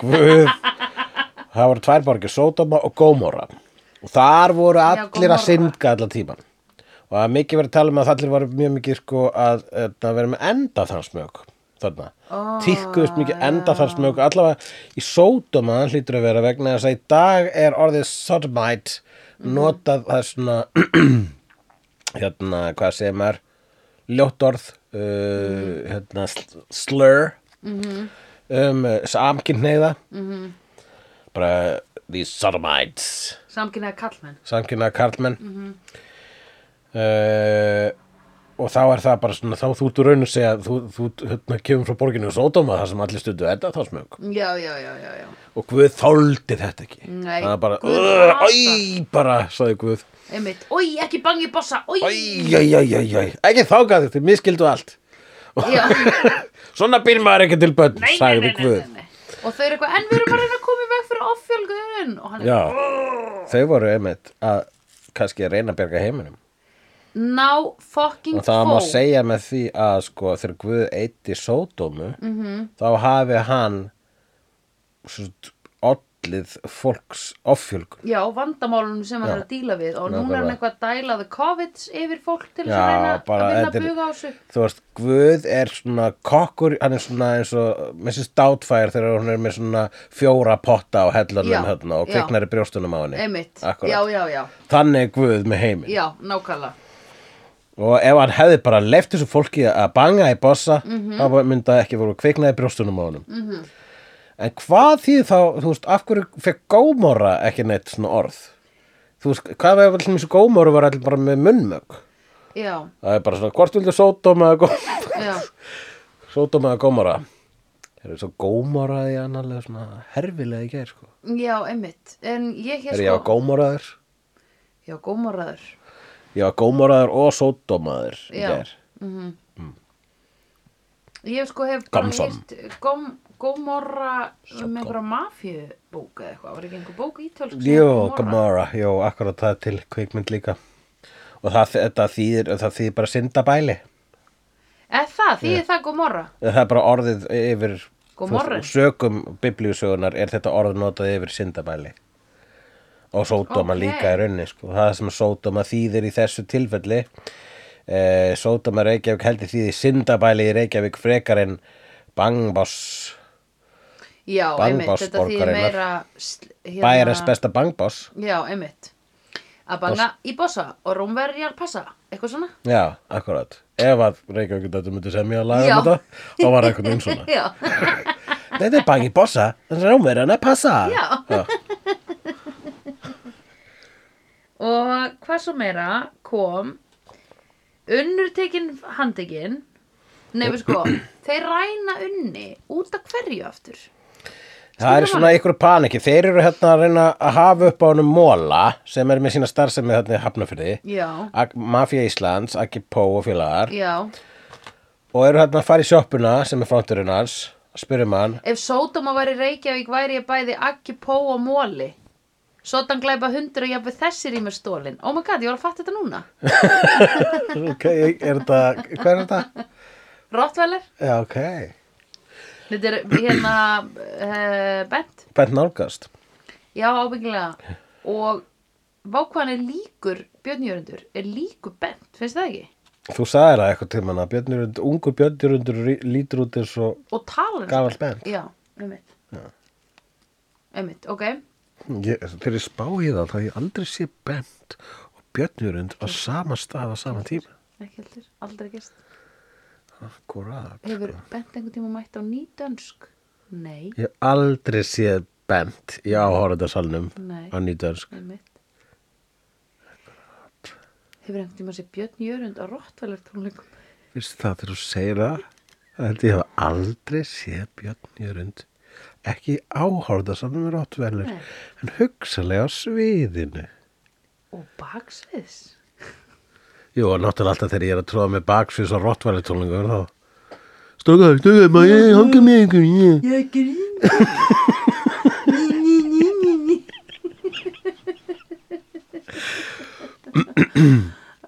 Guð það voru tvær borgir, Sódoma og Gómora og þar voru Já, allir að Gomorra. synga allan tíman og það er mikið verið að tala um að allir voru mjög mikið sko að, að vera með enda þann smög þarna, Ó, tíðkuðust mikið enda þann smög allavega í Sódoma hlýtur að vera vegna þess að í dag er orðið sodomite notað það er svona hérna, hvað segir maður ljótt orð uh, hérna, sl- slur um, uh, samkynhneigða bara these sodomites samkynnaði kallmenn. samkynna karlmenn uh, og þá er það bara svona þá þú ert úr raun að segja þú, þú hérna, kemur frá borginu og sódóma þar sem allir stundu þetta þá smög Já, já, já, já, já. og Guð þóldi þetta ekki Nei, það er bara, Guð "Ugh, hatar." æ, bara sagði Guð Einmitt. Ói, ekki bangi bossa, ói. æ, æ, æ, æ, æ, ekki þákað þetta, miskildu allt Já, svona býr maður ekki til börn nei, nei, nei, sagði nei, Guð nei, nei. Og þau eru eitthvað, en við erum bara að reyna að koma í veg fyrir offjölgun. Og hann er, já, þau voru einmitt að kannski að reyna að berga heiminum ná fucking og það má fó. segja með því að sko þegar Guð eitti sódómu -hmm. þá hafi hann ollið fólks offjölgun Já, vandamálunum sem hann er að díla við og núna er hann Nákvæmlega. eitthvað að dæla the covids yfir fólk til þess Já, að reyna bara að vinna þetta að er- buga á sig þú veist, Guð er svona kokkur, hann er svona eins og Mrs. Doubtfire þegar hún er með svona fjóra potta á Já, hellanum hérna og já. kviknar í brjóstunum á henni Einmitt, já, Akkúrat. já, já, þannig er Guð með heiminn já, nákvæmlega og ef hann hefði bara leift þessu fólki að banga í bossa Mhm. þá myndi það ekki voru kviknaði brjóstunum á honum -hmm. en hvað þýð þá þú veist, af hverju fekk gómóra ekki neitt svona orð þú veist, hvað var allir mjög gómóra var allir bara með munnmög Já, það er bara svona, hvort vildu sódóma eða Gó- já, sódóma eða gómóra það er svo gómóra í annarlega svona herfilega í gær sko. já, einmitt En ég er hér ég að sko gómóraður Já, gómorraður ég að gómóraður og sódómaður í Já. gær Ég sko hef bara Gamson. hýrt góm, gómorra um einhverja mafjubók eða eitthvað Var ekki einhver bók ítölsk sem hét Jó, Gamora, jó, akkurat það er til kvikmynd líka og það, þetta þýðir, það þýðir bara syndabæli Eh, það, því er það gómorra það er bara orðið yfir þú Gomorra. veist, sögum biblíusögunar er þetta orð notað yfir syndabæli og sódóma Ókei. líka í raunni sko. það er sem sódóma þýðir í þessu tilfelli eh, sódóma Reykjavík heldur þýði syndabæli í Reykjavík frekar en bangboss Já, einmitt, þetta því Bangbossborgarinnar. meira sl- hérna- bæjarins besta bangboss Já, einmitt. að banna í bossa og rómverjar passa, eitthvað svona Já, akkurat. Ef að Reykjavík þetta myndi semja að laga Já. um þetta, þá var eitthvað einn svona. já, Þetta er bangi bossa, þannig að rómverjan að passa. Já. Já. og hvað svo meira kom unnur tekin handekinn nefnir sko, þeir ræna unni út af hverju aftur Það er Skilur svona ykkur paniki. Þeir eru hérna að reyna að hafa upp á honum Móla sem er með sína starfsemi þarna í Hafnafyrði. já, Ag- Mafía Íslands, Aggi Pó og félagar já og eru hérna að fara í sjoppuna sem er fronturinn hans að spyrjum hann Ef sódóma væri Reykjavík væri ég bæði Akki, Pó og Móli Sotan glæpa hundur og jafnveg þessir í mér stólin Oh my god, ég var að fatta þetta núna ok, er þetta, hvað er þetta? Rottweiler, Já, ok, þetta er hérna uh, Bent bænt nálgast Já, ábyggilega Og vákvæðan er líkur Björn Jörundur, er líkur Bent Finnst það ekki? Þú sagðir það eitthvað tímann að Björnurund, ungur Björnurundur lítur út eins og Og talar eins og gamall benn Já, einmitt Einmitt, ok Ég- Þegar ég spá í það þá hef ég aldrei sé bent og Björnurund á sama stað á sama tíma Ekki heldur, aldrei gest Akkurat Hefur Bent einhvern tíma mætt á nýdönsk? Nei, Ég hef aldrei séð bent í áhorðarsalnum Nei. á nýtönsk Einmitt. Hefur einhvern tíma sér Björn Jörund á Rottvælar tónleikum? Fyrst það þegar þú segir það, það held ég hef aldrei séð Björn Jörund ekki áhorða saman með Nei. rottvelur, en hugsalega á sviðinu. Og baksviðs? Jú, og náttúrulega alltaf þegar ég er að tróða með baksvís á rottvelutólningur þá Stöka, stöka, maður ég hanga með einhver ég. Ég grín. ný, ný, ný, ný, ný.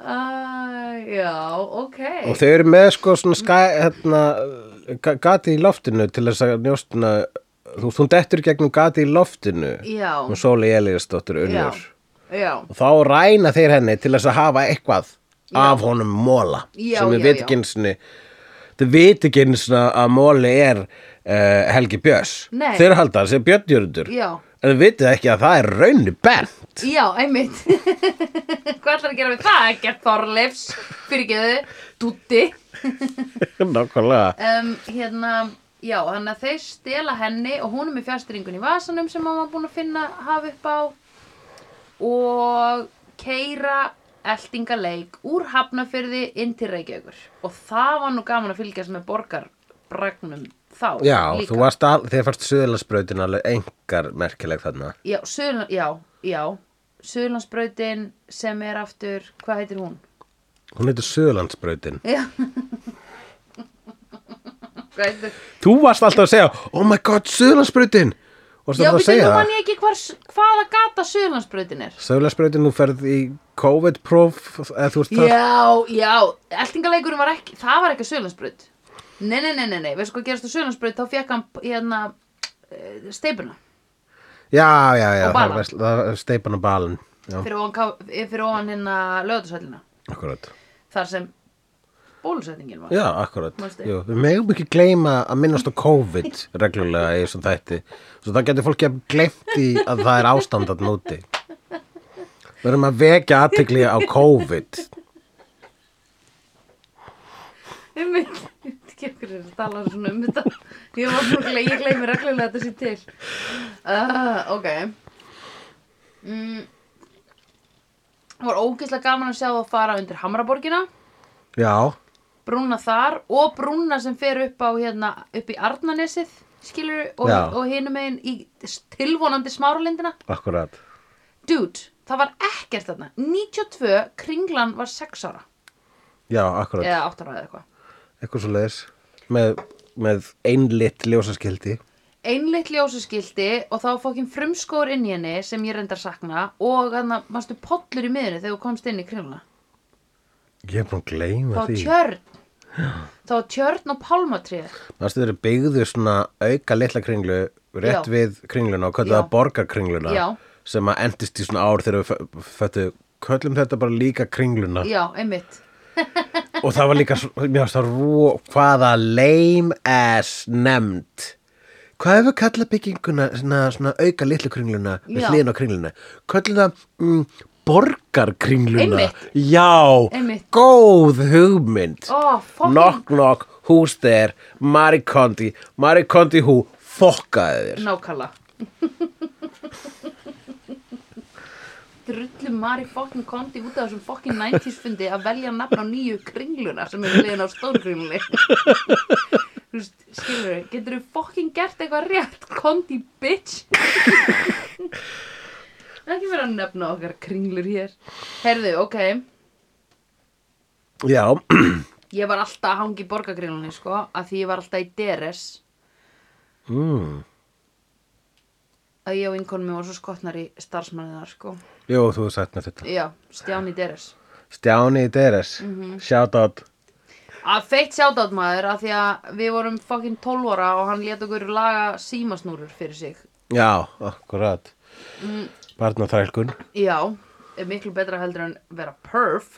Uh, já, ok. Og þau eru með sko svona skæ, hérna, ga- gati í loftinu til þess að njóstuna þú, þú dettur í gegnum gati í loftinu Já. og Sóli Elíasdóttir unnur Já, já. og þá ræna þeir henni til þess að hafa eitthvað af honum móla Já, sem já, við veit já. ekki einu sinni þau veit ekki einu sinni að móli er uh, Helgi Björs Nei. þeir halda það sem Björnjörundur Já. en þau vitið ekki að það er raunni bent Já, einmitt. Hvað ætlar að gera við það? Ekkert Þorleifs, fyrirgeðu, dútti. nákvæmlega um, hérna, já, hann að þeir stela henni og hún er með fjárstyrringun í vasanum sem hann var búin að finna hafa upp á og keira eltingaleik úr hafnafyrði inn til Reykjavíkur og það var nú gaman að fylgjast með borgarbragnum þá já, líka. þú varst all, þeir fannst Suðurlandsbrautin alveg engar merkileg þarna Já, Suðurland, já, já Suðurlandsbrautin sem er aftur, hvað heitir hún? hún heitir Suðurlandsbrautin Já Hvað heitir? þú varst alltaf að segja, oh my god, Suðurlandsbrautin varst alltaf Já, að býttu, nú segja man það ég ekki hvar, hvaða gata Suðurlandsbrautin er Suðurlandsbrautin, þú ferð í COVID-próf eða þú veist það Já, já, eltingaleikurinn var ekki, það var ekki Suðlandsbraut Nei, nei, nei, nei, nei, veistu hvað gerast á Suðlandsbraut, þá fekk hann hérna eh, steipuna Já, já, já, Og það balan. var- það var steipan og balan Já, fyrir ofan, ká- eh, fyrir ofan hérna lögðarsvellina akkurat þar sem bólusetningin var Já, akkurat Manstu? Jú, Við megum ekki gleyma að minnast á COVID reglulega í þessum þætti Svo það getur fólki að gleymt í að það er ástand að núti Við erum að vekja aðtegli á COVID Einmitt, ég veit ekki okkur er að tala svona um þetta Ég var svona, gle- ég gleymi reglulega að þetta sé til uh, Ok mm. Var ógeðslega gaman að sjá það fara undir Hamraborgina Já, brúna þar og brúna sem fer upp á hérna, upp í Arnanesið skilur og, Já. og hinum megin í tilvonandi smáralindina akkurat dude, það var ekkert þarna 92, kringlan var 6 ára Já, akkurat eða 8 ára eða eitthvað Eitthvað svo með, með einlitt ljósaskildi einleitt ljósaskildi og þá fókin frumskóður inn í henni sem ég reyndar sakna og þannig að mannstu pollur í miðinu þegar þú komst inn í kringluna Ég er búin að þá gleyma var því tjörn þá var tjörn og pálmatrið Manstu þeir eru byggðu svona auka litla kringlu rétt Já. við kringluna og kölluðu Já. það borgarkringluna Já. sem að endist í svona ár þegar við fættu köllum þetta bara líka kringluna já, einmitt og það var líka, svo- mér varst það rú hvaða lame ass nefnd hvað hefur kallað bygginguna svona, svona auka litla kringluna við Já. hliðin á kringluna köllum það mm, borgarkringluna Einmitt. Já, Einmitt. góð hugmynd Ó, fucking- Knock knock, who's there Marie Kondi, Marie Kondi who fokkaði þér Nákvæmlega Drullu Mari fokkin kondi út af þessum fokkin 90s fundi að velja nafn á nýju kringluna sem er leiðin á stórkringlunni Þú veist, skilur þau, getur þau fokkin gert eitthvað rétt kondi bitch Ekki vera að nefna okkar kringlur hér Herðu, ok, Já, ég var alltaf að hangi í borgarkringlunni sko, að því ég var alltaf í DRS mm. að ég og vinkonum mér var svo skotnar í starfsmanniðar sko jú, þú er sagt með þetta Já, Stjáni DRS Stjáni Deres, Mhm. shout out að feitt sjátátt maður að því að við vorum fucking 12 ára og hann let okkur laga símasnúrur fyrir sig Já, akkurat Mm. Barnaþrælkun já, er miklu betra heldur en vera perf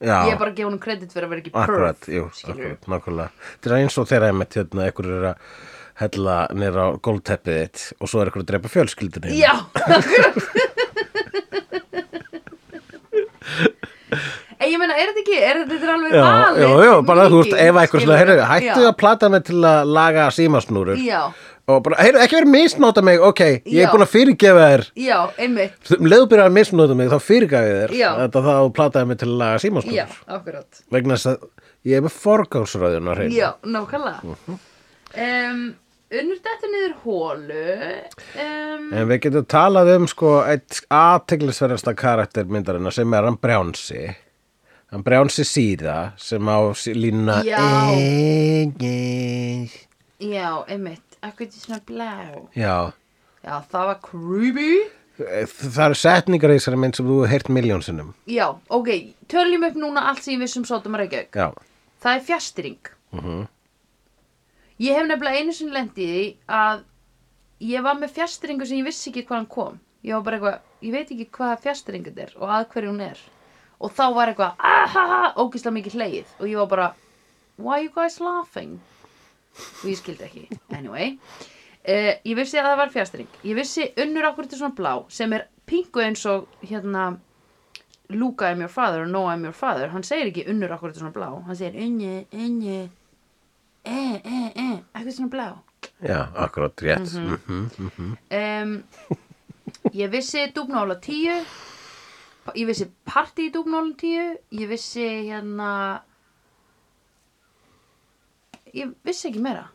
Já, ég er bara að gefa hann kredit fyrir að vera ekki perf akkurat, jú, skilurðu. akkurat, nákvæmlega Þetta er eins og þeirra einmitt hérna, ekkur er að hella nýra á gólteppið þitt og svo er ekkur að drepa fjölskyldinni já, akkurat en ég meina, er þetta ekki er þetta, þetta er alveg Já, valið já, já, bara þú veist, ef eitthvað svona, heyrðu, skilurðu. hættu Já. að plata mig til að laga símasnúrur já, og bara, heyrðu, ekki verið misnóta mig, ok, ég Já. er búin að fyrirgefa þér já, einmitt um leiðu byrjar að misnóta mig, þá fyrirgefa ég þér Já. þetta þá plataði mig til að laga já, símasnúrur akkurat vegna þess að ég er með forgánsröðun á hreinu Já, nákvæmlega Mhm. um, Unnur dættu niður hólu um, En við getum talað um sko eitt aðteglisverðasta karakter myndarinnar sem er hann Brjánsi hann Brjánsi síða sem á sí- línuna Já. Engin Já, einmitt, ekkert í svona blá Já, Já, það var creepy það eru setningar í þessari mynd sem þú hefur heyrt miljónsinnum Já, ok, töljum upp núna allt sem ég vissum sótum að Reykjavík Já, Það er fjastring Mhm. Ég hef nefnilega einu sinni lent í því að ég var með fjastringu sem ég vissi ekki hvað hann kom Ég var bara eitthvað, ég veit ekki hvað fjastringu er og að hverju hún er Og þá var eitthvað, ahaha, ógislega mikið hleið Og ég var bara, why you guys laughing? Og ég skildi ekki, anyway uh, Ég vissi að það var fjastring Ég vissi unnur akkur til svona blá sem er pingu eins og hérna Luke I'm your father og Noah I'm your father hann segir ekki unnur akkur þetta svona blá hann segir unni, unni e, e, e, eitthvað svona blá já, akkurat rétt Mhm. mm um, ég vissi dúbnála 10 pa- ég vissi party í dúbnála 10 ég vissi hérna ég vissi ekki meira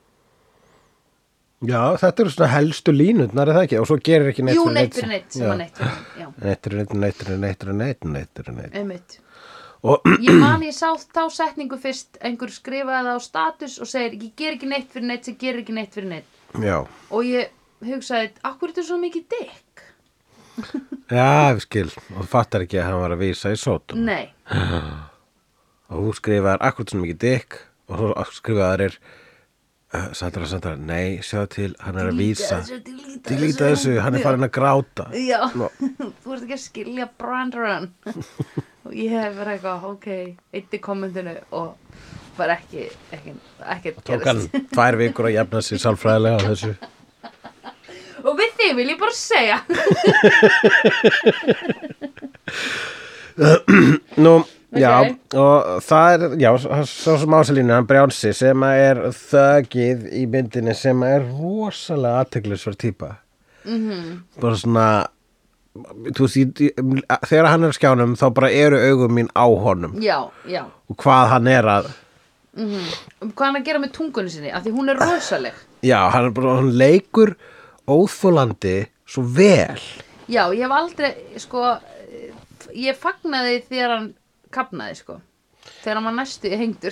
Já, þetta eru svona helstu línutnar er það ekki og svo gerir ekki neitt jú, fyrir neitt fyrir neitt sem Já. var neitt fyrir neitt já, Neitt fyrir neitt, neitt fyrir neitt, fyrir neitt, neitt fyrir neitt einmitt Og ég man ég sá þá setningu fyrst einhver skrifaði það á status og segir ég ger ekki neitt fyrir neitt sem gerir ekki neitt fyrir neitt já, og ég hugsaði, akkur þetta er svo mikið dikk? já, við skil og þú fattar ekki að hann var að vísa í sótum Nei, og þú skrifar akkurat svona mikið dikk og þú skrifaðar er uh, Sandra, Sandra, nei, sjá til hann er að vísa Dilíta Dilíta þessu, hann er farin að gráta Já, Nó. þú ert ekki að skilja brandarann og ég hef verið eitthvað, ok, eitt í kommentinu og var ekki, ekki, ekki Tók hann tvær vikur að jafna sér sálfræðilega á þessu Og við því vil ég bara segja Nú, já, Ok. og það er, já, svo sem ásalínu, hann Brjánsi sem að er þögið í myndinni sem að er rosalega aðteglisverð típa. Mm -hmm. Bara svona, þú veist, ég- ég- þegar hann er á skjánum þá bara eru augum mín á honum Já, já, og hvað hann er að, um hvað hann að gera með tungunni sinni af því hún er rosaleg já, hann, er bara, hann leikur óþólandi svo vel. Já, ég hef aldrei, sko, eh, ég fagnaði þegar hann kapnaði, sko þegar hann var næstu í hengdur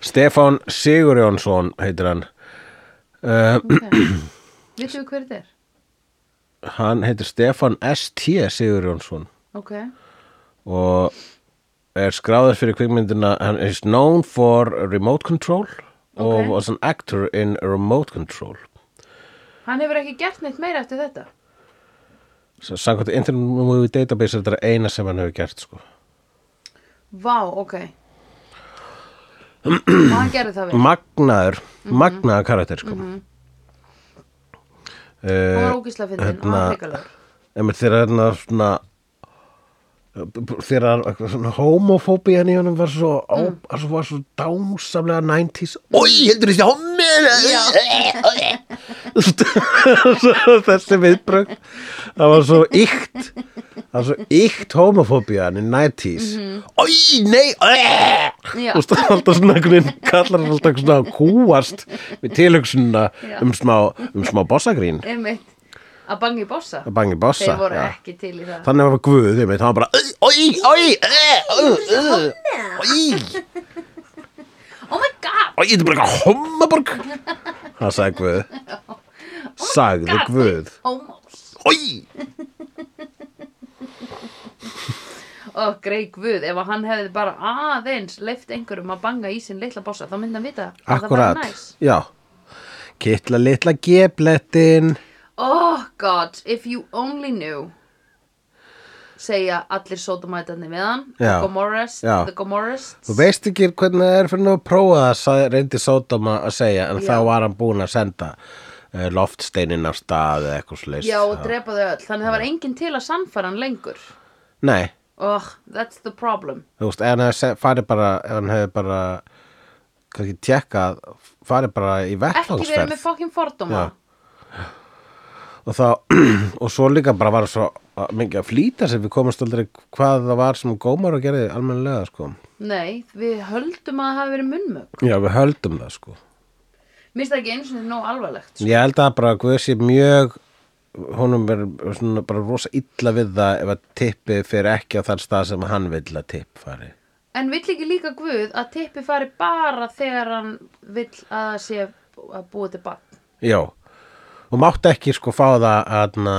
Stefán Sigurjónsson heitir hann. Uh, Vittu við hver þetta er? hann heitir Stefán S.T. Sigurjónsson. Ok, og er skráður fyrir kvikmyndina hann is known for remote control Ok. og was an actor in remote control hann hefur ekki gert neitt meira eftir þetta S- samkvæmt internet movie database er þetta eina sem hann hefur gert sko. Vá, ok Og hann gerði það Mm. vel magnaður, Mhm. magnaður karakter sko. mm Hann var ógísla fyndin og hann hérna- var hrikalur Einmitt þegar þarna svona þegar eitthvað svona homofóbían í honum var svo, mm. á, svo, var svo dámsamlega 90s Ói, heldur þessi homi þessi viðbrögg það var svo ykt það var svo ykt homofóbían í 90s Ói, nei Mhm. Já. og það var alltaf svona einhvern veginn kallar hann alltaf svona að kúast við tilhugsunna Já. um smá, um smá bossagrín einmitt að bangi bossa að bangi bossa þeir voru já. ekki til í það Þannig að það var guð, ég veit, hann var bara Oi, oi, oi, oi oh my god, Oi, þetta er bara eitthvað hommaborg Það sagði guð Sagði guð Oh homos Oi og grei guð, ef að hann hefði bara aðeins leift einhverjum að banga í sinn litla bossa þá myndi hann vita að það var Akkurat, næs já Kittla litla geblettin oh god, if you only knew segja allir sótumætarnir við hann Já. the Gomorrahs, Já. the Gomorrahs Þú veist ekki hvernig það er fyrir nú að prófa það sagði- reyndi Sódóma að segja en Já. þá var hann búinn að senda eh, loftsteinin af stað eða eitthvað slags já, og drepa þau öll, þannig það var enginn til að sannfæra hann lengur Nei, oh, that's the problem þú veist, ef hann hefði se- farið bara ef hann hefði bara kannski tjekkað, farið bara í ekki verið með vettvangsferð fokkin fordóma Já. og þá, og svo líka bara var svo uh, mikið að flýta sér, við komast aldrei hvað það var sem gómar og gerði almennilega, sko. nei, við höldum að það hafi verið munnmög Já, við höldum það, sko. mér finnst það ekki eins og þetta nóg alvarlegt sko. Ég held að bara Guð sé mjög honum er svona bara rosa illa við það ef að tippi fyrir ekki á þann stað sem hann vill að tipp fari. en vill ekki líka guð að tippi fari bara þegar hann vill að það sé að búa til bann Já, og mátt ekki sko fá það aðna,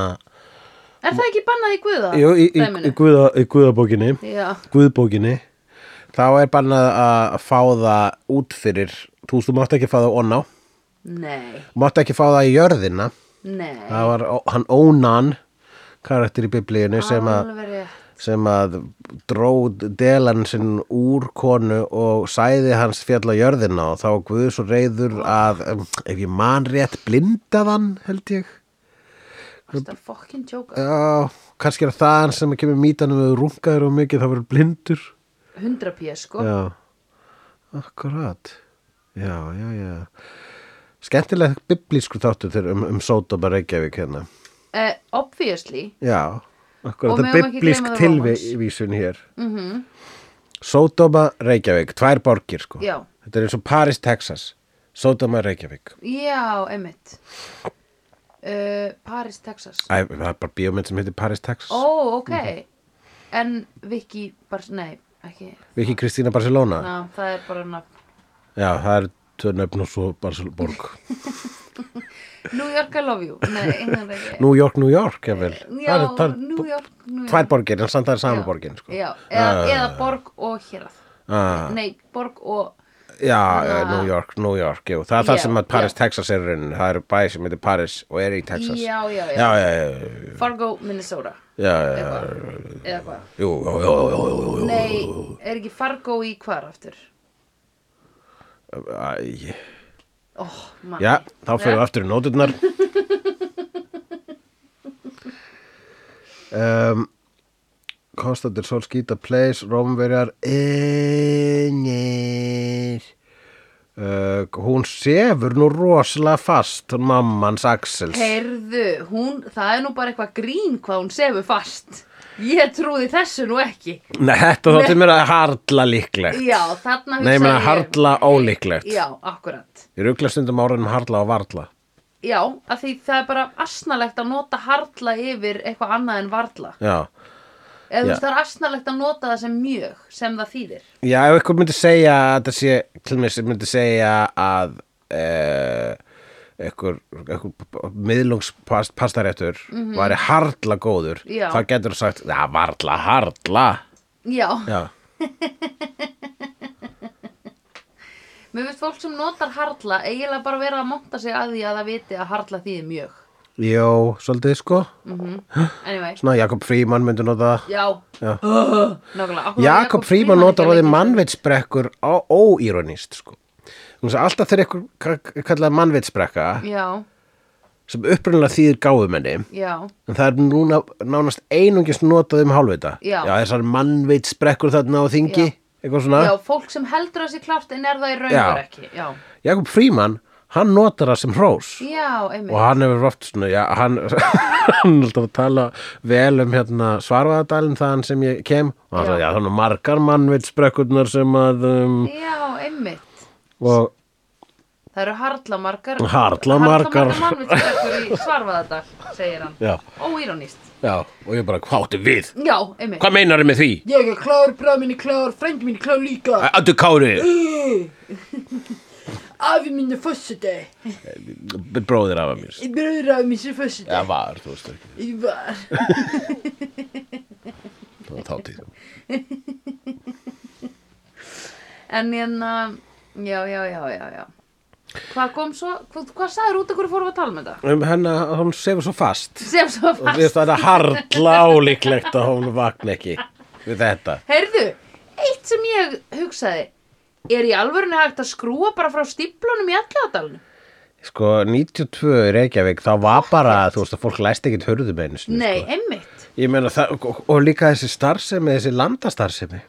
er það ekki bannað í guða? jú, í, í, dæminu? í, guða, í guðabókinni, já, guðbókinni, þá er bannað að fá það út fyrir, þú veist, þú mátt ekki fá það onná, nei, mátt ekki fá það í jörðina, nei það var ó- hann ónan karakter í biblíunni sem að Alveg rétt. sem að dró delan sinn úr konu og sæði hans fjall á jörðina og þá var Guð svo reyður að um, ef ég man rétt blindaðan held ég Þetta fokkin tjóka. já, kannski er það hann sem kemur mítanum við rungaður og mikið þá verður blindur 100 pés, sko. já, akkurat já, já, já skemmtilega biblísku þáttu þegar um, um Sódóma Reykjavík hérna Eh, obviously. já, akkurat Og það megum er ekki biblísk gleyma The Romans. tilvísun hér mm -hmm. Mhm. Sódóma Reykjavík tvær borgir sko Já. Þetta er eins og Paris, Texas Sódóma, Reykjavík Já, einmitt. Uh, Paris, Texas. Æ, það er bara bíómynd sem heitir Paris, Texas Ó, ok. Mhm. En Vicky, bara, nei, ekki. Viki Kristína Barcelona Ná, það er bara nafn. Já, það er tvö nöfn og svo Barcelona borg New York, I love you. Nei, einhvern veginn. New York, New York, ég vel Já, New York, New York. Tvær borgir, en samt það er Já, saman borgin sko. Já, eða, Ah, eða borg og hérað. ah, Nei, borg og, Já, eh, Þarna- New York, New York jú. Það er það Já, sem að Paris, já. Texas er í rauninni. Það eru bæði sem heitir Paris og er í Texas já, já, já. já, já, já, Fargo, Minnesota. já, já, já. Eitthvað. Eða hvað. Jú, jú, jú, jú, jú, jú, jú. Nei, er ekki Fargo í hvar aftur? Æ, Oh, manni. Já, þá fyrir við aftur í nóturnar um, Konstantin Solskýta Place, Rómverjar Einir uh, Hún sefur nú rosalega fast hún mammans Axels Heyrðu, hún, það er nú bara eitthvað grín hvað hún sefur fast. Ég trúði þessu nú ekki. Nei, þetta þótti mér að harla líklegt Já, þarna Nei, ég meina hugsaði harla ólíklegt Já, akkurat. Ég rugla stundum áraðum harla og varla Já, af því það er bara asnalegt að nota harla yfir eitthvað annað en varla. Já Eða þú Já. veist, það er asnalegt að nota það sem mjög, sem það þýðir. Já, ef eitthvað myndi segja að þetta sé, til mér sem myndi segja að eh, eitthvað, eitthvað miðlungspastaréttur mm -hmm. væri harla góður Mhm. Já. þá getur þú sagt, já, varla, harla Já, Já, mér finnst fólk sem notar harla eiginlega bara vera að monta sig að því að það viti að harla þýðir mjög. Jó, svolítið sko Mm. Anyway, Svona, Jakob Fríman myndi nota það já. Já. Ugh, Nákvæmlega. Af hverju var Jakob Fríman Fríman notar ekki að orðið leika í þessu? mannvitsbrekkur á- óíronískt sko Þú veist, alltaf þegar eitthvað kallaði mannvitsbrekka Já, sem upprunalega þýðir gáfumenni já, en það er núna nánast einungis notað um hálfvita Já. þessar mannveit sprekkur þarna á þingi Já. eitthvað svona já, fólk sem heldur að sé klárt en er það í raun Já. og veru ekki já, Jakob Fríman, hann notar það sem hrós já, einmitt og hann hefur oft svona já, hann, hann er alltaf að tala vel um hérna svarfaðadalinn þaðan sem ég kem og hann Já. sagði já þannig margar mannveit sprekkurnar sem að um, já, einmitt og það eru harla margar Harla margar. mannvitsbrekkur í svarfaðadag, segir hann já, óíronist, já og ég bara hvað áttu við já, einmitt hvað meinar með því ég er klár, bræð minni klár, frændi minni klár líka Addu Kári afi minni fossiti bróðir af mér bröður afi minni fossiti Já, var, þú veist ekki, ég var það var þáttíð En hérna, já, já, já, já, já. Hvað kom svo, hvað, hvað sagður út af hverju fórum við að tala með þetta? um, Hennar, hún sefur svo fast Sem svo og við fast. þetta harla ólíklegt að hún vakna ekki við þetta Heyrðu, eitt sem ég hugsaði, er í alvörinu hægt að skrúa bara frá stíplunum í alladalunum? Sko, 92 í Reykjavík, þá var bara, þú veist að fólk læst ekkit hörðum einu sinni Nei, sko. einmitt. Ég meina, það, og, og líka þessi starfsemi, þessi landastarfsemi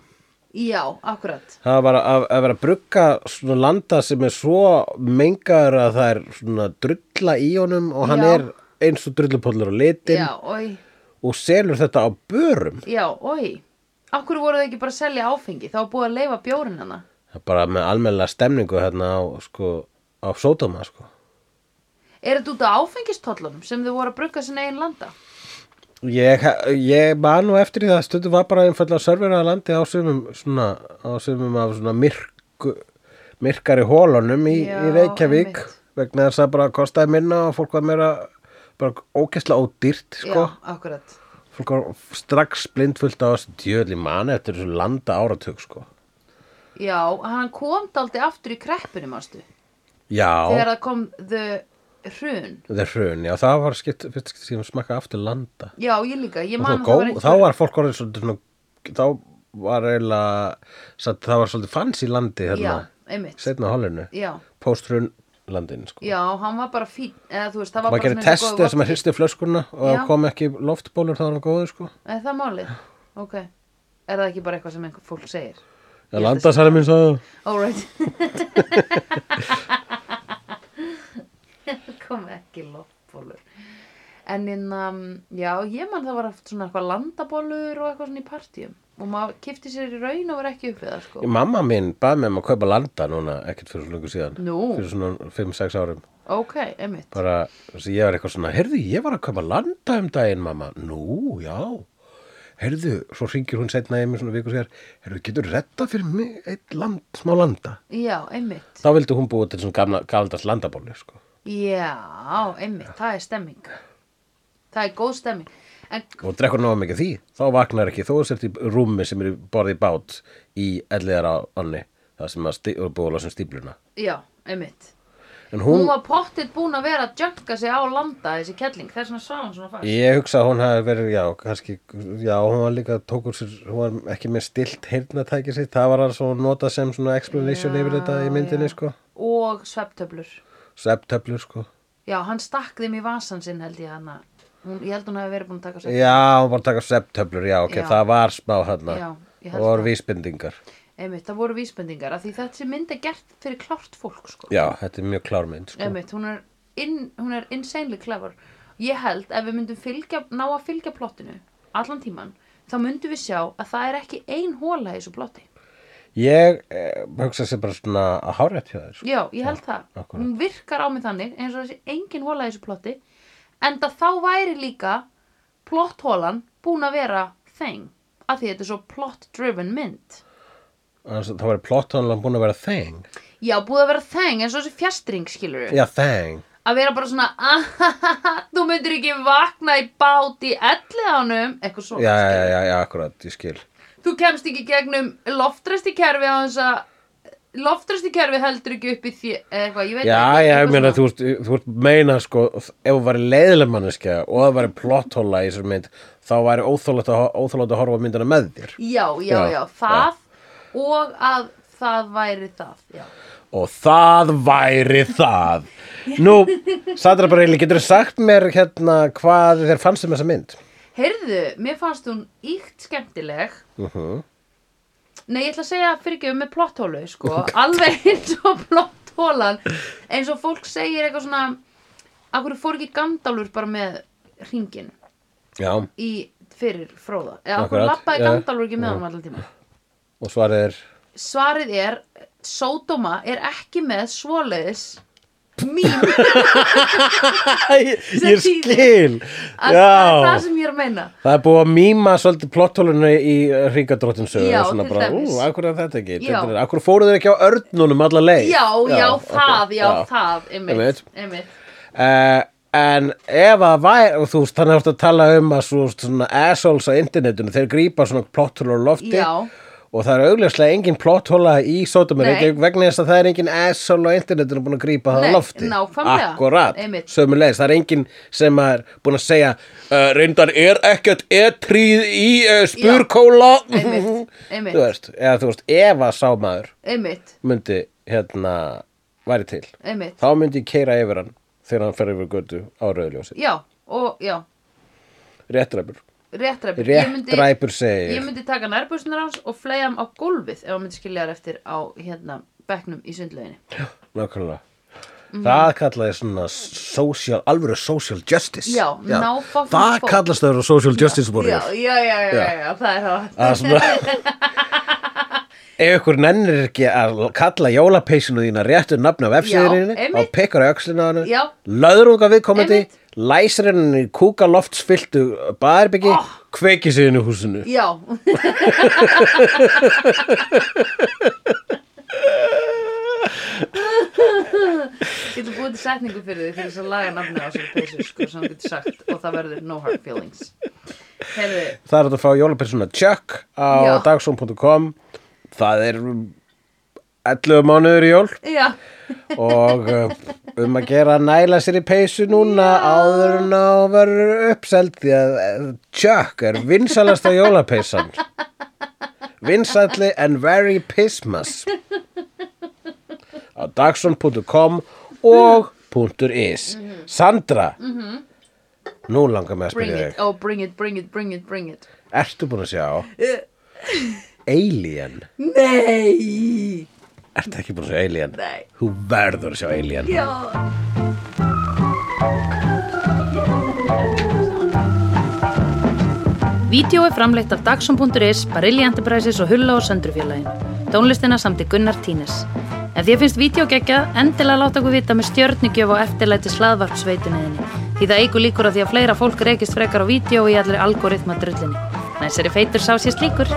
Já, akkurat. Það var að, að vera að brugga svona landa sem er svo mengaður að það er svona drulla í honum og hann Já. er eins og drullupollur á litin Já, oi, og selur þetta á börum já, oi. Akkur voru þau ekki bara að selja áfengi? Það var búið að leifa bjórin hana. Það er bara með almennilega stemningu hérna á, sko, á sódóma, sko. Er þetta út af áfengistollunum sem þau voru að brugga sinna einn landa? Ég, ég man nú eftir því að stundum var bara einfallega serverið að landi á sumum, svona, á sumum af svona myrku, myrkari hólunum í, Já, í Reykjavík einmitt. vegna þess að bara kostaði minna og fólk var meira bara ókesslega ódýrt, sko. Já, akkurat. Fólk var strax blindfullt á þessu djöðli mani eftir þessu landa áratug, sko. Já, hann kom daldi aftur í kreppinu, mástu. Já, þegar það kom the hrun þetta er hrun, já, það var skipt, fyrst skipt sem smakka aftur landa. já ég líka, ég Og man svo að gó, það var þá var fólk orðið svolítið svona þá var eiginlega satt, það var svolítið fanns í landi hérna, já, einmitt setna á holinu já, póstrun landin sko. já, hann var bara fín eða þú veist, það var maður bara gerir test þess að maður vodka. hristi flöskuna og Já. það kom ekki loftbólur þá var hann góður sko. er það málið, ok er það ekki bara eitthvað sem einhver fólk segir ég Ég held að landa særi minn sagði það. alright kom ekki loppbólur en innan, já, ég man það var aftur svona eitthvað landabólur og eitthvað svona í partíum og maður kipti sér í raun og var ekki upp við það sko mamma mín bað mig um að kaupa landa núna ekkert fyrir svo lungu síðan Nú. fyrir svona 5-6 árum ok, einmitt bara, þessi, ég var eitthvað svona, heyrðu, ég var að kaupa landa um daginn, mamma, nú, já heyrðu, svo hringir hún setna í mig svona viku sér, heyrðu, getur retta fyrir mig eitt land, smá landa já, einmitt þá vildi hún búið til svona gamla, gamaldast landabólu sko. Já, einmitt, það er stemming Það er góð stemming En og drekkur náða mikið því þá vaknar ekki, þó sért í rúmi sem er í- borðið í bát í elliðar á onni það sem að stí, búið að lásum stípluna já, einmitt en Hún hún, var pottitt búin að vera að jönka sig á landa þessi kelling Það er svona svalan svona fast ég hugsa að hún hafi verið já, kannski, já, hún var líka tókur sér, hún var ekki með stilt heyrnatæki sitt, það var að svo nota sem svona explanation yfir þetta í myndinni sko Og svepptöflur septöflur sko Já, hann stakk þeim í vasan sinn held ég hana hún, Ég held hún hefði verið búin að taka svepp já, hún var að taka septöflur, já, ok, Já. það var smá hana, Já, ég held það voru það. vísbendingar Einmitt, það voru vísbendingar af Því þessi mynd er gert fyrir klárt fólk sko. já, þetta er mjög klármynd sko Einmitt, hún er, inn, hún er insanely clever Ég held ef við myndum fylgja, ná að fylgja plottinu allan tíman þá myndum við sjá að það er ekki ein hóla í þessu plotti Ég eh, hugsa sér bara svona að hárætt hjá þér. sko. Já, ég held það. akkúrat. Hún virkar á mig þannig eins og þessi engin hóla í þessu plotti enda þá væri líka plotthólan búin að vera þeng af því þetta er svo plot driven mynd. Annars Það var plottónlega búin að vera þeng. Já, búið að vera þeng eins og þessi fjastring skilur Já, þeng. að vera bara svona "Ahahaha, þú myndir ekki vakna í bát í elliðanum eitthvað Já, svona já, skilurðu. já, já, já, akkurat, ég skil. þú kemst ekki gegnum loftræsti kerfi á þess að loftræsti kerfi heldur ekki upp í því eða eitthvað, ég veit Já, já, ekki ég eitthvað meina, svona. þú ert, þú ert meina, sko, ef þú væri leiðileg manneskja og það væri plottóla í þessar mynd, þá væri óþólótt að, óþolandi að horfa á myndina með þér. já, já, Já, já, það og að það væri það já, og það væri það Nú, Sandra Bareilly, getur þú sagt mér hérna hvað þér fannst um þessa mynd? Heyrðu, mér fannst hún íkt skemmtileg Uh Nei, ég ætla að segja fyrir ekki með plotthólu, sko Alveg eins og plotthólan Eins og fólk segir eitthvað svona Akkur fór ekki Gandalfur bara með ringin Já, í fyrir fróða Eða akkur Akkurat, lappaði já. Gandalfur ekki með honum allan tíma og svarið er Svarið er, Sódóma er ekki með svoleiðis mím Æ, ég Sem þýðir skil að það er það Já, sem ég er að meina það er búið að mýma svolítið plotthólinu í hringadróttin sögur Já, svona til bara, dæmis. ú, akkur er þetta ekki Já. Þetta er- Akkur fóruð þeir ekki á örnunum alla leið Já, já, það, ok, já, það, einmitt, Einmitt. einmitt. Eh, en ef að væri, og þú veist, þannig ertu að tala um að svo, svona assholes á internetinu, þeir grípa svona plotthóla á lofti Já. og það er augljóslega engin plotthóla í sótumir, Nei. vegna þess að það er engin asshole á internetinu búin að grípa það Nei, á lofti. nákvæmlega. Akkurat, Einmitt. sömulegis, það er engin sem er búin að segja, uh, reyndar er ekkert etrýð í uh, spurkóla. Einmitt, einmitt. Þú veist, eða þú veist, ef að sá maður Einmitt, myndi, hérna, væri til einmitt. þá myndi ég keira yfir hann þegar hann fer yfir götu á rauðljósi Já, og já, réttræpur, réttræpur. Ég myndi- réttræpur segi Ég ég. myndi taka nærbústunar hans og fleja hann á gólfið ef hann myndi skilja þær eftir á hérna bekknum í sundleginni. nákvæmlega Mhm. það kallaði svona social, alvöru social justice Já, ná fucking það fuck. kallast það eru social justice Já, warrior já, já, já, já, já, það er það. Það er svona ef ykkur nennir ekki að kalla jólapeysinu þína réttu nafn á Já, vefsíðurinni einmitt. og pekkar auksinu á hennu Já. löðrunga viðkomandi Einmitt. læsir henni í kúkaloftsfylltu baðarbyggi, Oh. kveiki sig henni húsinu Já, ég ætla að búið til setningu fyrir því fyrir þess að laga nafni á þessum peysu, sko, sem hann getur sagt og það verður no hard feelings. Herðu, Það er hægt að fá jólapersona Chuck Já. á dagsum.com Það er 11 mánuður í jól já, og uh, um að gera að næla sér í peysu núna áður en á verður uppseld því að eh, Chuck er vinsalasta jólapeysan Vinsalli and very pismas á dagsum.com og .is Sandra Nú langar mig að Mhm. bring spyrja it, þig oh, bring it, bring it, bring it, bring it. Ertu búin að sjá Alien? Nei! Ertu ekki búin að sjá Alien? Nei. Þú verður að sjá Alien Já. Vídeó er framleitt af Dagsum.is, Barilli Enterprises og Hulla og Söndrufjörlægin. Tónlistina samti Gunnar Tínes. Ef þér finnst vídeo geggjað, endilega láta okkur vita með stjörnigjöf og eftirlæti slaðvarpsveituninni. Því það eigur líkur að því að fleira fólk reykist frekar á vídeo í allir algoritma drullinni. Næsari feitur sá sér slíkur.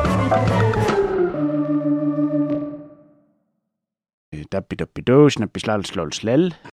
Dabbi dabbi dó, snabbi slal slól slell.